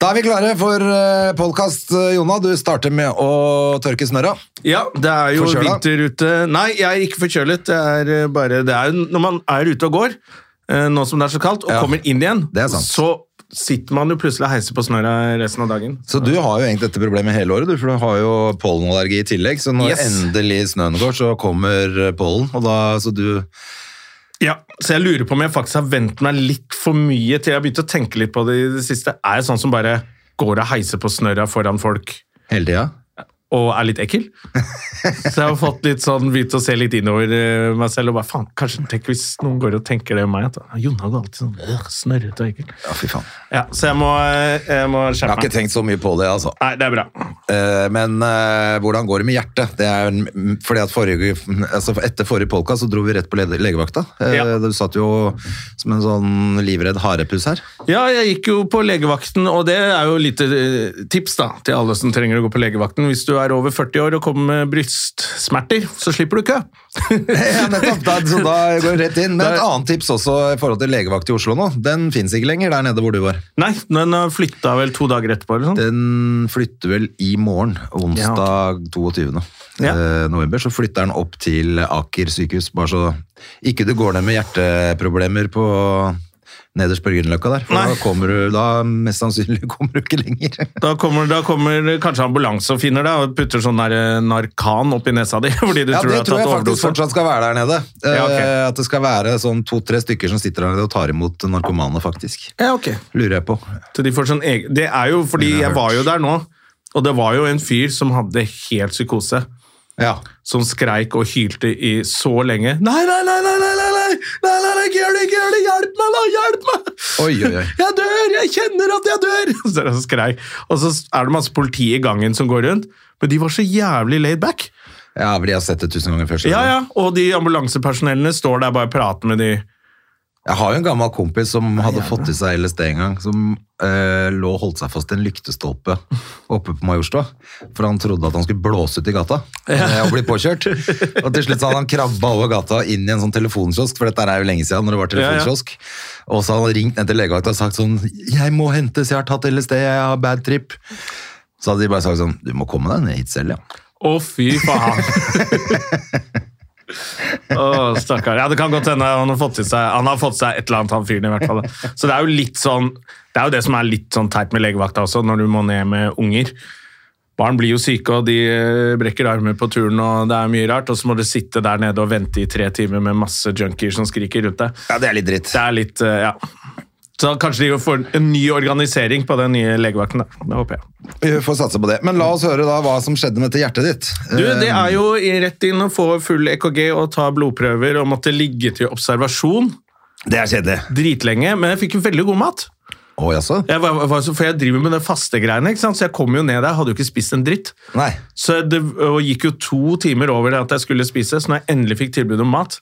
Da er vi klare for eh, podcast, eh, Jonna. Du starter med å tørke snørra. Ja, det er jo Forkjøla? vinter ute. Nei, jeg er ikke forkjølet. Det er eh, bare det er, jo- Når man er ute og går, eh, nå som det er så kaldt, og Ja, kommer inn igjen, det er sant. så sitter man jo plutselig og heiser på snøra resten av dagen. Så du har jo egentlig dette problemet hele året, du, for du har jo pollenallergi i tillegg. Så når Yes. endelig snøen går, så kommer eh, pollen, og da så du Ja, Så jeg lurer på om jeg faktisk har vent meg litt for mye til jeg har begynt å tenke litt på det i det siste. Er jeg sånn som bare går og heiser på snøra foran folk hele tida og er litt ekkel? Så jeg har fått litt sånn begynt å se litt innover eh, meg selv og bare faen, kanskje tenk hvis noen går og tenker det om meg. at Jonna er alltid sånn øh, snørrete og ekkel. Ja, fy faen. Ja, så jeg må, jeg må Jeg skjerpe har meg. ikke tenkt så mye på det, altså. Nei, det er bra. Eh, Men eh, hvordan går det med hjertet? Det er mm, fordi at forrige, altså etter forrige podcast så dro vi rett på lede- legevakta. Eh, Ja. Du satt jo som en sånn livredd harepuss her. Ja, jeg gikk jo på legevakten, og det er jo litt eh, tips da, til alle som trenger å gå på legevakten. Hvis du er over 40 år og kommer med brystsmerter, så slipper du kø. Ja, nettopp. Da, så da går det rett inn. Men et Da- annet tips også i forhold til legevakt i Oslo nå. Den finnes ikke lenger der nede hvor du var. Nei, den har flytta vel to dager etterpå. eller sånn. Den flytter vel i morgen, onsdag 22. Ja. eh, november, så flytter den opp til Aker sykehus, bare så ikke du går ned med hjerteproblemer på nederst på Grünerløkka der, for Nei. da kommer du da mest sannsynlig kommer du ikke lenger. Da kommer, da kommer kanskje ambulanse og finner deg og putter sånn der eh, Narcan oppi nesa di. fordi du Ja, tror du det har tror tatt jeg faktisk overdose. fortsatt skal være der nede. Eh, Ja, ok. At det skal være sånn to-tre stykker som sitter der nede og tar imot narkomane, faktisk. Ja, ok. Lurer jeg på. Så de får sånn egen... Det er jo fordi jeg var jo der nå, og det var jo en fyr som hadde helt psykose. Ja. som skreik og hylte i så lenge. Nei, nei, nei, nei, nei, nei, nei, nei, nei, nei ikke gjør det, ikke gjør det, hjelp meg da, hjelp meg! Oi, oi, oi. Jeg dør, jeg kjenner at jeg dør! Så er det så skreik. Og så er det masse politi i gangen som går rundt, men de var så jævlig laid back. Ja, for de har sett det tusen ganger før. skjønner Ja, du. ja, og de ambulansepersonellene står der bare og prater med de. Jeg har jo en gammel kompis som hadde fått i seg LSD en gang, som eh, lå og holdt seg fast i en lyktestolpe oppe på Majorstua, for han trodde at han skulle blåse ut i gata eh, og bli påkjørt. Og til slutt så hadde han krabba over gata inn i en sånn telefonkiosk, for dette er jo lenge siden når det var telefonkiosk. Og så hadde han ringt ned til legevakta og sagt sånn 'Jeg må hentes, jeg har tatt LSD, jeg har bad trip'. Så hadde de bare sagt sånn 'Du må komme deg ned hit selv, ja'. Å, fy faen! Å, stakkar. Ja, det kan godt hende han har fått til seg Han har fått seg et eller annet, han fyren, i hvert fall. Så det er jo litt sånn Det er jo det som er litt sånn teit med legevakta også, når du må ned med unger. Barn blir jo syke, og de eh, brekker armer på turen, og det er mye rart. Og så må du sitte der nede og vente i tre timer med masse junkier som skriker rundt deg. Ja, det er litt dritt. Det er litt eh, Ja. Så kanskje de får en ny organisering på den nye legevakten, da. Det håper jeg. Vi får satse på det. Men la oss høre da hva som skjedde med dette hjertet ditt. Du, det er jo i- rett inn å få full EKG og ta blodprøver og måtte ligge til observasjon Det er kjedelig. dritlenge, men jeg fikk jo veldig god mat. Å, jaså? Jeg var, var, så- for jeg driver med det faste greiene, ikke sant? så jeg kom jo ned der, hadde jo ikke spist en dritt. Nei. Så det og gikk jo to timer over det at jeg skulle spise, så når jeg endelig fikk tilbud om mat,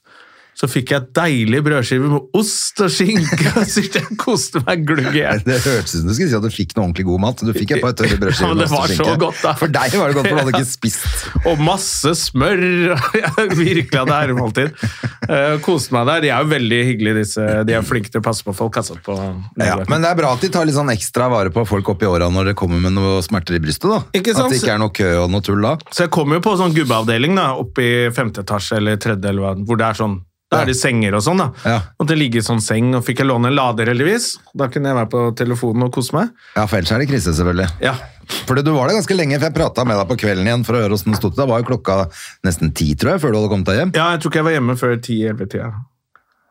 så fikk jeg deilige brødskiver med ost og skinke, og så jeg koste meg glugg igjen. Det hørtes ut som du skulle si at du fikk noe ordentlig god mat. Du fikk et par tørre brødskiver Ja, men det med ost og var så skinke. godt, da. For deg var det godt, for du hadde ikke spist. Og masse smør. og jeg Virkelig hadde æremåltid. Uh, koste meg der. De er jo veldig hyggelige, disse. De er flinke til å passe på folk. Altså, på Ja, men det er bra at de tar litt sånn ekstra vare på folk oppi åra når det kommer med noe smerter i brystet. da. Ikke sant? At det ikke er noe kø og noe tull da. Så jeg kom jo på sånn gubbeavdeling da, oppe i femte etasje eller tredje, eller hva, hvor det er sånn da er det senger og sånn, da. Ja. Og det ligger i sånn seng, og fikk jeg låne en lader, heldigvis. Da kunne jeg være på telefonen og kose meg. Ja, For ellers er det krise, selvfølgelig. Ja, Fordi du var der ganske lenge, for jeg prata med deg på kvelden igjen for å høre åssen det sto til. Da var jo klokka nesten ti, tror jeg, før du hadde kommet deg hjem. ja jeg tror ikke jeg var hjemme før 10-11-tida.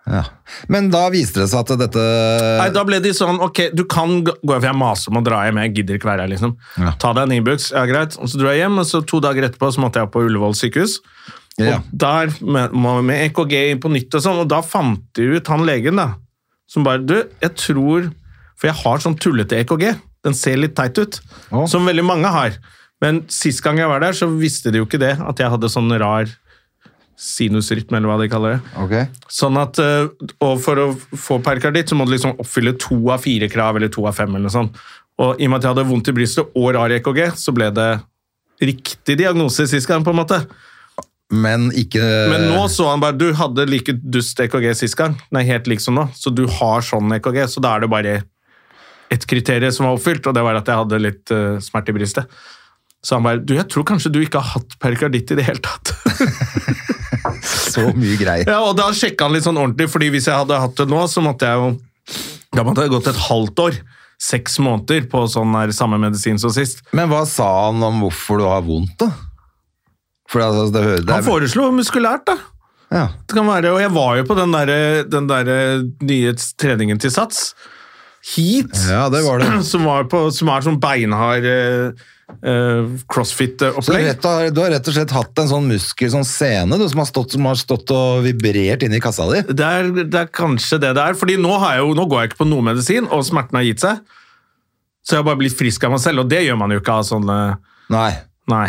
Ja. Men da viste det seg at dette Eh, Nei, da ble de sånn Ok, du kan gå For jeg maser om å dra hjem, jeg gidder ikke være her, liksom. Ja. Ta deg en Ibux, ja, greit. Og så dro jeg hjem, og så to dager etterpå så måtte jeg opp på Ullevål sykehus. Ja. Og der, med, med E EKG på nytt og sånn, og da fant de ut han legen, da, som bare Du, jeg tror For jeg har sånn tullete EKG. Den ser litt teit ut, Å. som veldig mange har. Men sist gang jeg var der, så visste de jo ikke det, at jeg hadde sånn rar sinusrytme, eller hva de kaller det. Ok. Sånn at, eh, og for å få perkarditt, så må du liksom oppfylle to av fire krav, eller to av fem, eller noe sånt. Og i og med at jeg hadde vondt i brystet og rar EKG, så ble det riktig diagnose sist gang, på en måte. Men ikke Men nå så han bare Du hadde like dust EKG sist gang. Nei, helt liksom nå. Så du har sånn EKG. Så da er det bare ett kriterium som var oppfylt, og det var at jeg hadde litt eh, smerte i brystet. Så han bare Du, jeg tror kanskje du ikke har hatt perkarditt i det hele tatt. så mye greier. ja, og da sjekka han litt sånn ordentlig, fordi hvis jeg hadde hatt det nå, så måtte jeg jo Da måtte jeg gått et halvt år. Seks måneder på sånn her samme medisin som sist. Men hva sa han om hvorfor du har vondt, da? For altså, det hører det Han foreslo muskulært, da. ja. Det kan være, og jeg var jo på den der, den der eh, nye treningen til Sats. Heat. Ja, det var det. Som, var på, som er sånn beinhard eh, eh, Så du, crossfit-opplegg. rett og, du har rett og slett hatt en sånn muskel, sånn sene, du, som har stått, som har stått og vibrert inni kassa di? Det er, det er kanskje det det er. Fordi nå, har jeg jo, nå går jeg ikke på noe medisin, og smerten har gitt seg. Så jeg har bare blitt frisk av meg selv, og det gjør man jo ikke av sånne Nei. Nei.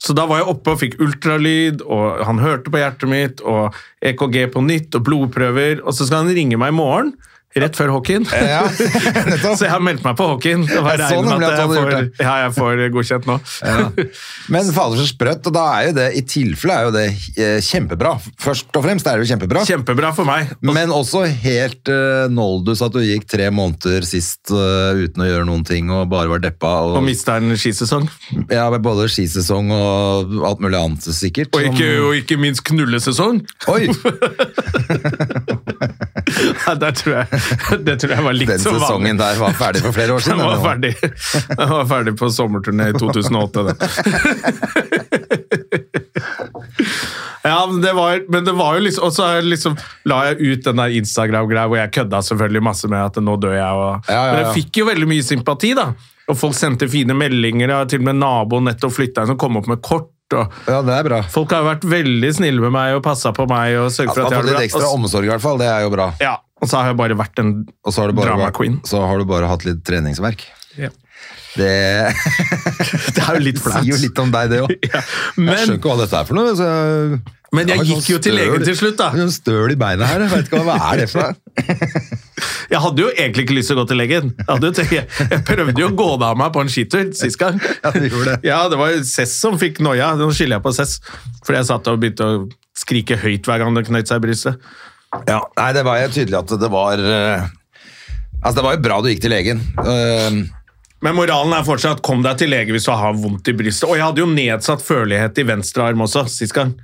Så da var jeg oppe og fikk ultralyd, og han hørte på hjertet mitt, og EKG på nytt, og blodprøver, og så skal han ringe meg i morgen, rett før hockeyen. Ja, Så jeg har meldt meg på hockeyen. Jeg Jeg så regner med nemlig at at du jeg hadde får, gjort ja, jeg får godkjent nå. Men fader, så sprøtt. Og da er jo det, i tilfelle er jo det eh, kjempebra. Først og fremst er det jo kjempebra. Kjempebra for meg. Men også helt eh, noldus at du gikk tre måneder sist eh, uten å gjøre noen ting og bare var deppa. Og, Og mista en skisesong. ja, med både skisesong og alt mulig annet, sikkert. Og ikke, og ikke minst knullesesong. Oi! Ja, der tror jeg, det tror jeg var likt Den som vanlig. sesongen der var ferdig for flere år Den siden. var den, da. ferdig, den var ferdig på sommerturné i 2008. Den. Ja, men det var, men det var jo liksom Og så har jeg liksom, la jeg ut den der Instagram-greia hvor jeg kødda selvfølgelig masse med at nå dør jeg. Ja, Og, ja, ja. Men jeg fikk jo veldig mye sympati, da. Og folk sendte fine meldinger. Og til og med naboen nettopp flytta inn og kom opp med kort. og Ja, det er bra. Folk har jo vært veldig snille med meg og passa på meg. og sørget At for man får at jeg har litt det ekstra bra. Og, omsorg, i hvert fall. Det er jo bra. ja, og så har jeg bare vært en Og så har du bare, drama queen. så har du bare hatt litt treningsverk. Ja. Det Det er jo litt flaut. sier jo litt om deg, det òg. Ja, Jeg skjønner men, ikke hva dette er for noe. Så... Men jeg har gikk jo til legen til slutt, da. Jeg har Sånn støl i beina her. Jeg vet ikke hva hva er det for noe. jeg hadde jo egentlig ikke lyst til å gå til legen. Jeg, hadde jo tenkt, jeg prøvde jo å gå det av meg på en skitur sist gang. Ja, du gjorde det. Ja, det var jo Cess som fikk noia. Nå skylder jeg på Cess. Fordi jeg satt og begynte å skrike høyt hver gang det knøt seg i brystet. Ja, nei, det var jo tydelig at det var eh, Altså, det var jo bra du gikk til legen. Eh, Men moralen er fortsatt kom deg til lege hvis du har vondt i brystet. Og jeg hadde jo nedsatt førlighet i venstre arm også sist gang.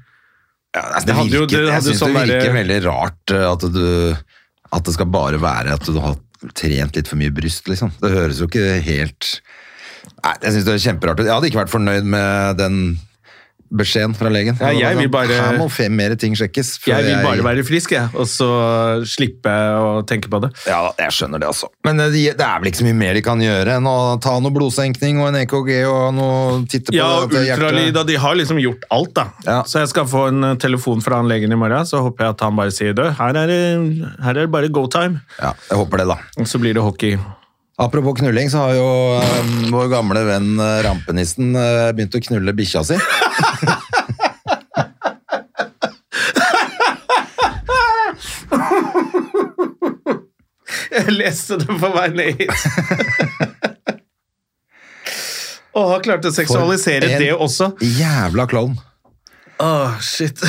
ja, altså, Det det hadde jo- virker, det hadde jeg syns jo det sånn virker derre- veldig rart eh, at du At det skal bare være at du har trent litt for mye bryst, liksom. Det høres jo ikke helt Nei, jeg syns det er kjemperart. Jeg hadde ikke vært fornøyd med den beskjeden fra legen. Ja, jeg vil bare- Her må fem mer ting sjekkes. før Jeg vil bare være frisk, jeg, og så slippe å tenke på det. Ja, da, jeg skjønner det, altså. Men eh, de- det er vel ikke så mye mer de kan gjøre enn å ta noe blodsenkning og en EKG og noe titte på Ja, og dette hjertet. ultralyd, og de har liksom gjort alt, da. Ja. Så jeg skal få en eh, telefon fra han legen i morgen, så håper jeg at han bare sier du, her er det, her er det bare go time. Ja, jeg håper det, da. Og så blir det hockey. Apropos knulling, så har jo eh, vår gamle venn eh, rampenissen eh, begynt å knulle bikkja si. Jeg leste det på vei ned hit. Og har klart å seksualisere For en- det også. Jævla klovn. Åh, shit.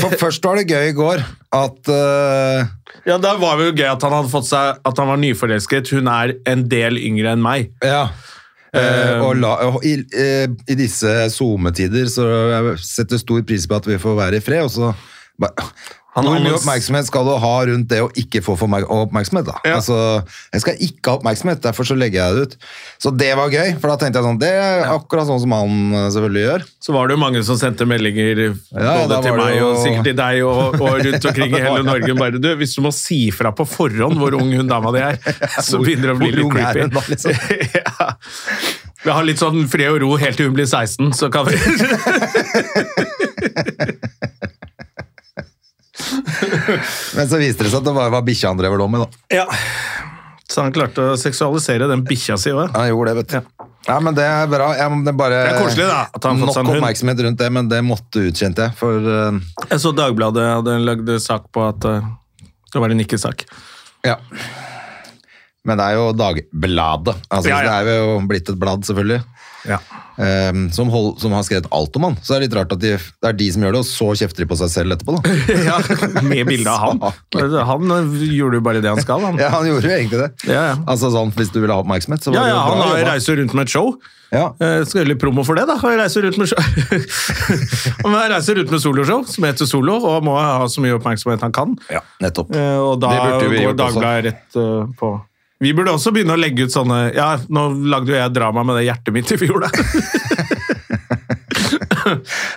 For først var det gøy i går at eh, ja, da var det jo gøy at han hadde fått seg at han var nyforelsket. Hun er en del yngre enn meg. Ja. Eh, og la, og i, eh, I disse SoMe-tider så jeg setter stor pris på at vi får være i fred, og så ba- Han- Hvor han- mye oppmerksomhet skal du ha rundt det å ikke få for meg- oppmerksomhet? da? Ja. Altså, Jeg skal ikke ha oppmerksomhet, derfor så legger jeg det ut. Så det var gøy, for da tenkte jeg sånn Det er akkurat sånn som han eh, selvfølgelig gjør. Så var det jo mange som sendte meldinger eh, Ja, både da til var det meg jo- og sikkert til deg og, og rundt omkring i hele Norge. Bare, du, hvis du må si fra på forhånd hvor ung hun dama di er, så Hvor- begynner det å bli hvor litt ung er creepy. hun da, liksom? ja. Vi har litt sånn fred og ro helt til hun blir 16, så kan vi Men så viste det seg at det bare var bikkja han drev og lå med, da. Ja. Så han klarte å seksualisere den bikkja si òg. Han gjorde det, vet du. Ja. men Det er bra. Ja, men det, er bare, Det er koselig, da, at han har fått seg en Nok hund. oppmerksomhet rundt det, men det måtte ut, kjente jeg. For eh, Jeg så Dagbladet hadde lagd sak på at eh, det var en ikke-sak. Ja. Men det er jo Dagbladet. Altså, Ja, ja. Det er jo blitt et blad, selvfølgelig. Ja. Ehm, som, hold, som har skrevet alt om han. Så det er litt rart at de, det er de som gjør det, og så kjefter de på seg selv etterpå, da. Med bilde av han. Han eh, gjorde jo bare det han skal. Han. Ja, han gjorde jo egentlig det. Ja, ja. Altså sånn, Hvis du ville ha oppmerksomhet, så var Ja, det ja, jo han bra har jobba. reiser rundt med et show. Ja. Eh, Skal gjøre litt promo for det, da. Han reiser rundt med show. han reiser rundt med soloshow, som heter Solo, og må ha så mye oppmerksomhet han kan. ja, nettopp. Eh, Og da Det burde vi går gjort også. Dagbladet rett eh, på. Vi burde også begynne å legge ut sånne Ja, nå lagde jo jeg drama med det hjertet mitt i fjor, da.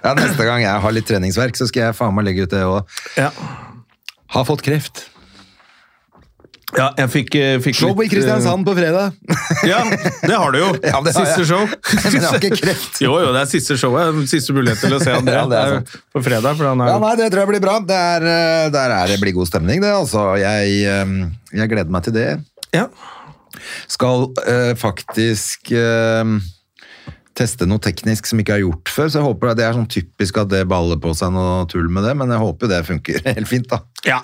Ja, neste gang jeg har litt treningsverk, så skal jeg faen meg legge ut det òg. Ja, Har fått kreft. ja jeg fikk, eh, fikk Show i litt, eh, Kristiansand på fredag! Ja, det har du jo. Ja, det har siste jeg. show. Men jeg har ikke kreft. Jo, jo, det er siste showet. Siste mulighet til å se André Ja, det er eh, sant. på fredag. For han er, Ja, nei, Det tror jeg blir bra. Det er, eh, der er det blir god stemning, det. altså. Jeg, ehm, jeg gleder meg til det. Ja. Skal eh, faktisk ehm, teste noe teknisk som ikke er gjort før, så jeg håper det, det er sånn typisk at det baller på seg noe tull med det, men jeg håper det funker helt fint, da. Ja,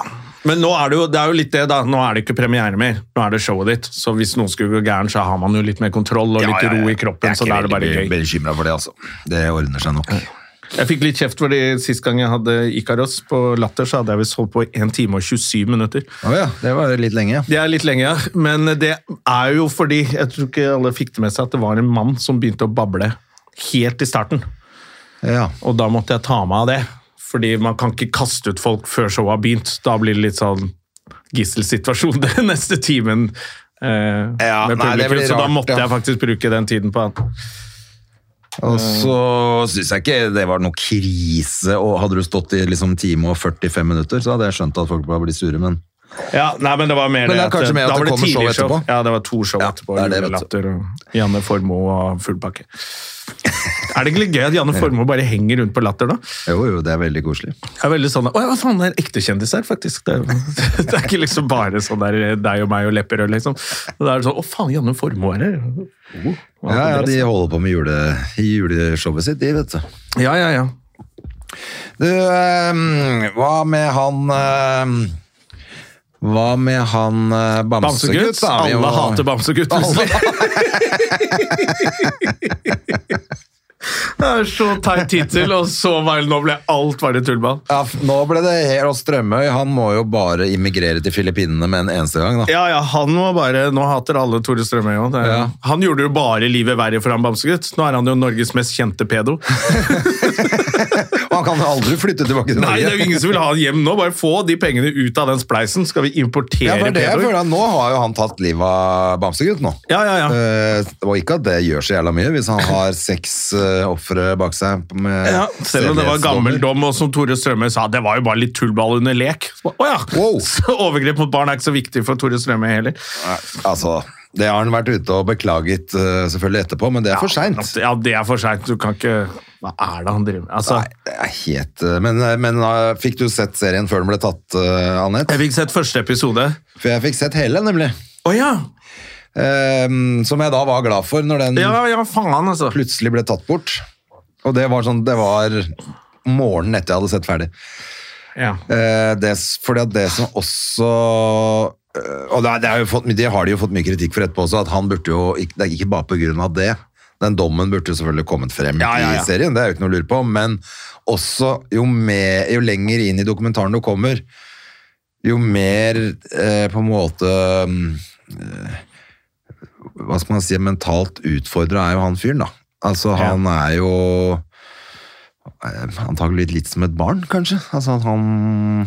men nå er det, jo, det er jo litt det da, nå er det ikke premiere mer, nå er det showet ditt, så hvis noen skulle gå gæren, så har man jo litt mer kontroll og litt ro i kroppen, så da er det bare Jeg er gøy. ikke bekymra for det, altså. Det ordner seg nok. Jeg fikk litt kjeft fordi sist gang jeg hadde Ikaros på Latter, så hadde jeg visst holdt på i 1 time og 27 minutter. Å ja, det var litt lenge. Det er litt lenge, ja, men det er jo fordi, jeg tror ikke alle fikk det med seg, at det var en mann som begynte å bable helt i starten, Ja. og da måtte jeg ta meg av det, fordi man kan ikke kaste ut folk før showet har begynt, da blir det litt sånn gisselsituasjon den neste timen eh, Ja, med nei, det publikum, blir så da rart, måtte ja. jeg faktisk bruke den tiden på at Og Eh. så syns jeg ikke det var noe krise, og hadde du stått i liksom time og 45 minutter, så hadde jeg skjønt at folk bare blir sure, men ja, nei, men det var mer Men det er kanskje mer at da det var kommer show tidlig etterpå. Ja, det var to show Ja, etterpå. det er det, vet du. Julelatter og Janne Formoe og full pakke. Er det ikke litt gøy at Janne Formoe bare henger rundt på Latter nå? jo, jo, det er veldig koselig. Det er veldig sånn, Å ja, faen, det er ekte kjendiser, faktisk. Det er, det er ikke liksom bare sånn der deg og meg og Lepperød, liksom. Det er sånn, Å faen, Janne Formoe er her. Oh, hva er Ja, ja, det? de holder på med jule, juleshowet sitt, de, vet du. ja, ja, ja. Du, eh, hva med han eh, Hva med han eh, Bamsegutt? Bamsegutt? da? Vi Alle må- hater Bamsegutt. liksom. Det er så teit tittel, og så bare Nå ble alt bare tullball. Ja, f- nå ble det her og Strømøy. Han må jo bare immigrere til Filippinene med en eneste gang, da. Ja, ja, han var bare Nå hater alle Tore Strømøy òg. Ja. Han gjorde jo bare livet verre for han Bamsegutt. Nå er han jo Norges mest kjente pedo. Og Han kan jo aldri flytte tilbake til Nei, Norge. det er jo ingen som vil ha han hjem nå. Bare få de pengene ut av den spleisen, skal vi ja, importere for det jeg pedoer. føler at Nå har jo han tatt livet av Bamsegutt nå. Ja, ja, ja. Eh, og ikke at det gjør så jævla mye hvis han har seks eh, ofre bak seg. Med Ja, selv om det var gammel dom, og som Tore Strømøy sa, det var jo bare litt tullball under lek. Så bare, Å ja! Wow. Så overgrep mot barn er ikke så viktig for Tore Strømøy heller. Nei, Altså, det har han vært ute og beklaget eh, selvfølgelig etterpå, men det er for seint. Ja, det er for seint. Du kan ikke Hva er det han driver med? Altså, Nei, det er helt eh, Men, men eh, fikk du sett serien før den ble tatt, eh, Anette? jeg fikk sett første episode. Å For jeg fikk sett hele, nemlig. ja! Ehm, som jeg da var glad for, når den Ja, ja, faen, altså. plutselig ble tatt bort. Og det var sånn Det var morgenen etter jeg hadde sett ferdig. Ja. Eh, det, fordi at det som også eh, Og det, er- det, er jo fått, det har de jo fått mye kritikk for etterpå også, at han burde jo ikke- Det er ikke bare på grunn av det. Den dommen burde jo selvfølgelig kommet frem Ja, ja, ja. i serien, det er jo ikke noe å lure på, men også jo, mer- jo lenger inn i dokumentaren du kommer, jo mer eh, på en måte mm, eh, Hva skal man si mentalt utfordra er jo han fyren, da. Altså, han er jo eh, antagelig litt som et barn, kanskje. Altså at han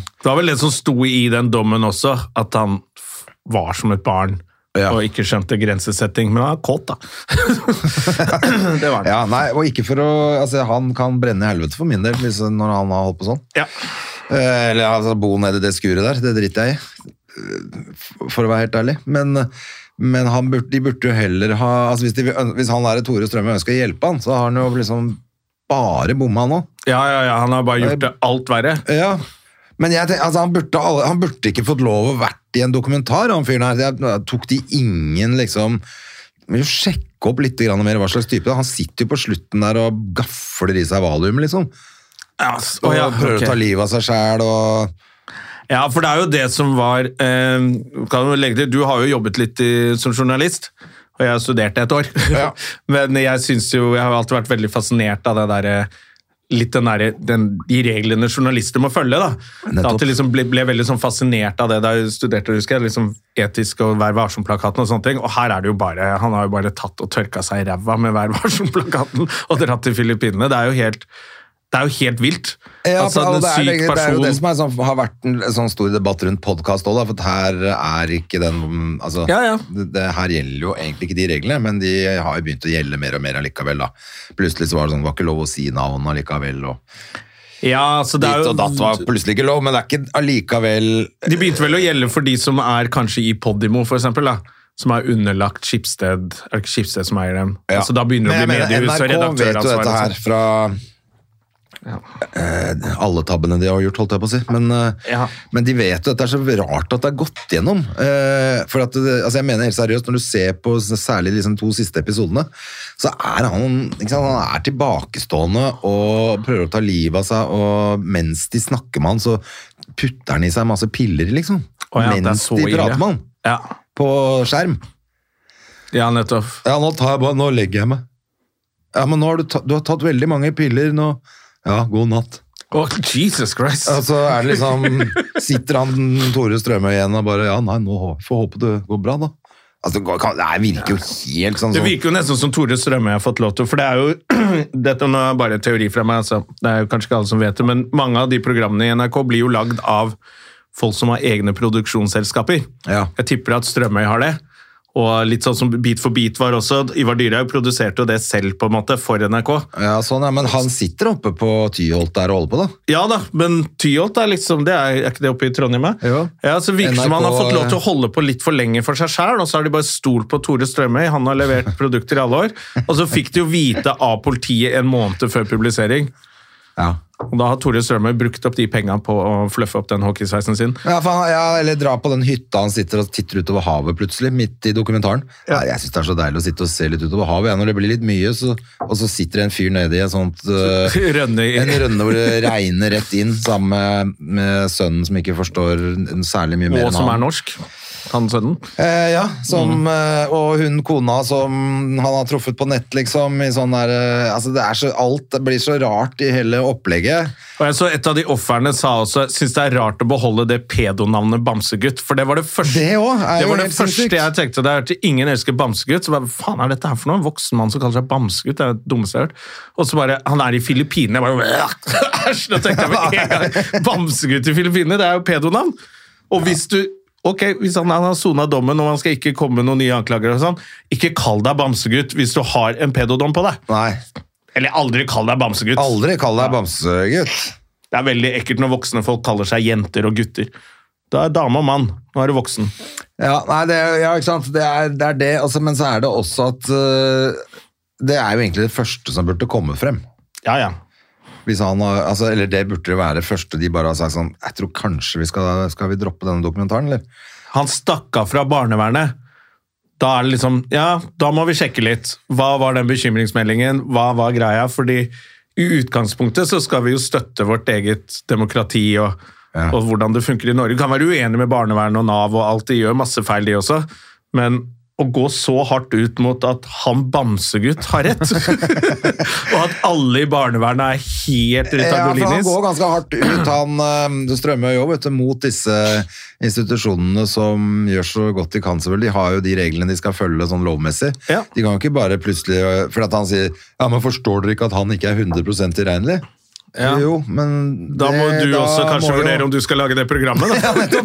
Det var vel det som sto i den dommen også, at han f- var som et barn. Ja. Og ikke skjønte grensesetting, men han er kåt, da. det var det. Ja, nei, og ikke for å Altså, han kan brenne i helvete for min del hvis, når han har holdt på sånn. Ja. Eh, Eller altså, bo nede i det skuret der, det driter jeg i. Eh, f- For å være helt ærlig. Men, men han burde, de burde jo heller ha altså hvis, de, vil øn- hvis han der Tore Strømme ønsker å hjelpe han, så har han jo liksom bare bomma nå. ja, ja, ja. Han har bare gjort det alt verre. Ja. Men jeg tenker, altså, han, burde, alle- han burde ikke fått lov å vært i en dokumentar om fyren her. Jeg tok de ingen liksom men jo sjekke opp litt grann mer hva slags type det er. Han sitter jo på slutten der og gafler i seg valium, liksom. Ja, s- Og å ja, prøver ok. å ta livet av seg sjæl og Ja, for det er jo det som var eh, kan du, legge til, du har jo jobbet litt i, som journalist, og jeg studerte et år. Ja. Men jeg synes jo, jeg har alltid vært veldig fascinert av det der, eh, litt den der, den, de reglene journalister må følge. da. Nettopp. At jeg liksom ble, ble veldig sånn fascinert av det da jeg studerte, husker jeg, liksom etisk og Vær varsom-plakaten og sånne ting. Og her er det jo bare, han har jo bare tatt og tørka seg i ræva med Vær varsom-plakaten og dratt til Filippinene. Det er jo helt... Det er jo helt vilt. Ja, Altså, for- og en det, er, syk det, det er jo person- det som er, sånn, har vært en sånn stor debatt rundt podkast òg, for at her er ikke den altså, Ja, ja. Det, det, Her gjelder jo egentlig ikke de reglene, men de har jo begynt å gjelde mer og mer allikevel. Da. Plutselig så var det sånn, det var ikke lov å si navn allikevel. Og, Ja, så det er ditt jo, og datt var plutselig ikke lov, men det er ikke allikevel De begynte vel å gjelde for de som er kanskje i Podimo, for eksempel, da. Som er underlagt Skipsted. Er det ikke Skipsted som eier dem? Ja. Altså, da begynner det å Men bli jeg mener, mediehus og sånn. NRK vet jo dette her redaktøransvar. fra eh, alle tabbene de har gjort, holdt jeg på å si. Men, eh, Ja. men de vet jo at det er så rart at det er gått gjennom. Eh, for at, det- altså jeg mener helt seriøst, når du ser på s- særlig liksom to siste episodene, så er han, ikke sant, han er tilbakestående og prøver å ta livet av seg, og mens de snakker med han, så putter han i seg masse piller, liksom. Å ja, det er mens så de ille. prater med han Ja. på skjerm. ja, nettopp. Ja, nå, tar jeg bare, nå legger jeg meg. Ja, men nå har du, ta, du har tatt veldig mange piller nå. Ja, god natt. Å, Jesus Christ! Og så er det liksom, sitter han Tore Strømøy igjen og bare, ja, nei, nå hå- får håpe det går bra da. Altså, det, går, kan, det her virker jo helt sånn Det som... virker jo nesten som Tore Strømme har fått lov til, for det er jo Dette nå er bare teori fra meg, altså. Det er jo kanskje ikke alle som vet det, men mange av de programmene i NRK blir jo lagd av folk som har egne produksjonsselskaper. Ja. Jeg tipper at Strømøy har det. Og litt sånn som Beat for beat var også. Ivar Dyrhaug produserte jo det selv, på en måte, for NRK. Ja, sånn, ja, men han sitter oppe på Tyholt der og holder på da. Ja da, men Tyholt er liksom Det er, er ikke det oppe i Trondheim? da? Jo. Ja, så virker det som han har NRK, eh, fått lov til å holde på litt for lenge for seg sjæl, og så har de bare stolt på Tore Strømøy, han har levert produkter i alle år. Og så fikk de jo vite av politiet en måned før publisering. Ja. Og da har Tore Strømøy brukt opp de penga på å fluffe opp den hockeysveisen sin. Ja, for han, ja, eller dra på den hytta han sitter og titter utover havet plutselig, midt i dokumentaren. Nei, jeg synes det er så deilig å sitte og se litt utover havet, ja, når det blir litt mye, så, og så sitter det en fyr nede i et sånt... eh, Rønne i En rønne hvor det regner rett inn, sammen med, med sønnen som ikke forstår n- særlig mye mer Og enn som er Mm. han. norsk. Han sønnen. Eh, ja, som, eh, og hun kona som han har truffet på nett, liksom. I sånn der, eh, altså det er så, alt det blir så rart i hele opplegget. Og jeg så Et av de ofrene sa også syns det er rart å beholde det pedonavnet Bamsegutt. For det var det første Det òg er Det jo var det helt første sinnssykt. jeg tenkte da jeg hørte ingen elsker bamsegutt. Så bare, hva faen er dette her for noe? En voksen mann som kaller seg bamsegutt, det er det dummeste jeg har hørt. Og så bare, han er i Filippinene. Jeg bare, «Åh, æsj, da tenkte jeg med en gang, bamsegutt i Filippinene, det er jo pedonavn. Og hvis du, ok, hvis han, han har sonet dommen, og han skal ikke komme med noen nye anklager og sånn, ikke kall deg bamsegutt hvis du har en pedodom på deg. Nei, Eller aldri kall deg bamsegutt. aldri kall deg bamsegutt. Det er veldig ekkelt når voksne folk kaller seg jenter og gutter. Da er dame og mann, nå er du voksen. Ja, nei, det, er- ja, ikke sant? Det er det, er det altså, men så er det også at eh, Det er jo egentlig det første som burde komme frem. Ja, ja. Hvis han har, altså, eller det burde det være det første de bare har sagt sånn Jeg tror kanskje vi skal, skal vi droppe denne dokumentaren, eller? han stakk av fra barnevernet. Da er det liksom Ja, da må vi sjekke litt. Hva var den bekymringsmeldingen? Hva var greia? Fordi i utgangspunktet så skal vi jo støtte vårt eget demokrati og, Ja. og hvordan det funker i Norge. Du kan være uenig med barnevernet og Nav og alt, de gjør masse feil, de også. Men å gå så hardt ut mot at han bamsegutt har rett, og at alle i barnevernet er helt Ja, for han ritagolinis går ganske hardt ut. Han eh, strømmer jo vet du, mot disse institusjonene som gjør så godt de kan. selvfølgelig. De har jo de reglene de skal følge sånn lovmessig. Ja. De kan jo ikke bare plutselig eh, For at han sier Ja, men forstår dere ikke at han ikke er 100 tilregnelig? Ja. Jo, men Da må du også kanskje vurdere om du skal lage det programmet. Da.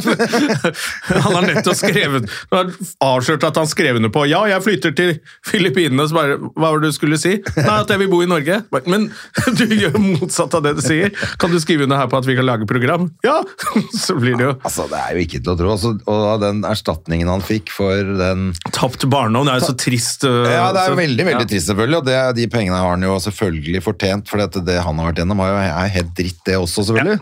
han har nettopp skrevet Han har avslørt at han skrev under på 'ja, jeg flytter til Filippinene'. Så bare, hva var det du skulle si? 'Nei, at jeg vil bo i Norge'. Bare, Men du gjør motsatt av det du sier. Kan du skrive under her på at vi kan lage program? Ja! Så blir det jo Altså, Det er jo ikke til å tro. Altså, og den erstatningen han fikk for den tapt barndom. Det er jo så trist. øh, altså. Ja, det er jo veldig veldig Eh, ja. trist, selvfølgelig. Og det, de pengene har han jo selvfølgelig fortjent, for det han har vært gjennom, har jo- er helt dritt, det også, selvfølgelig.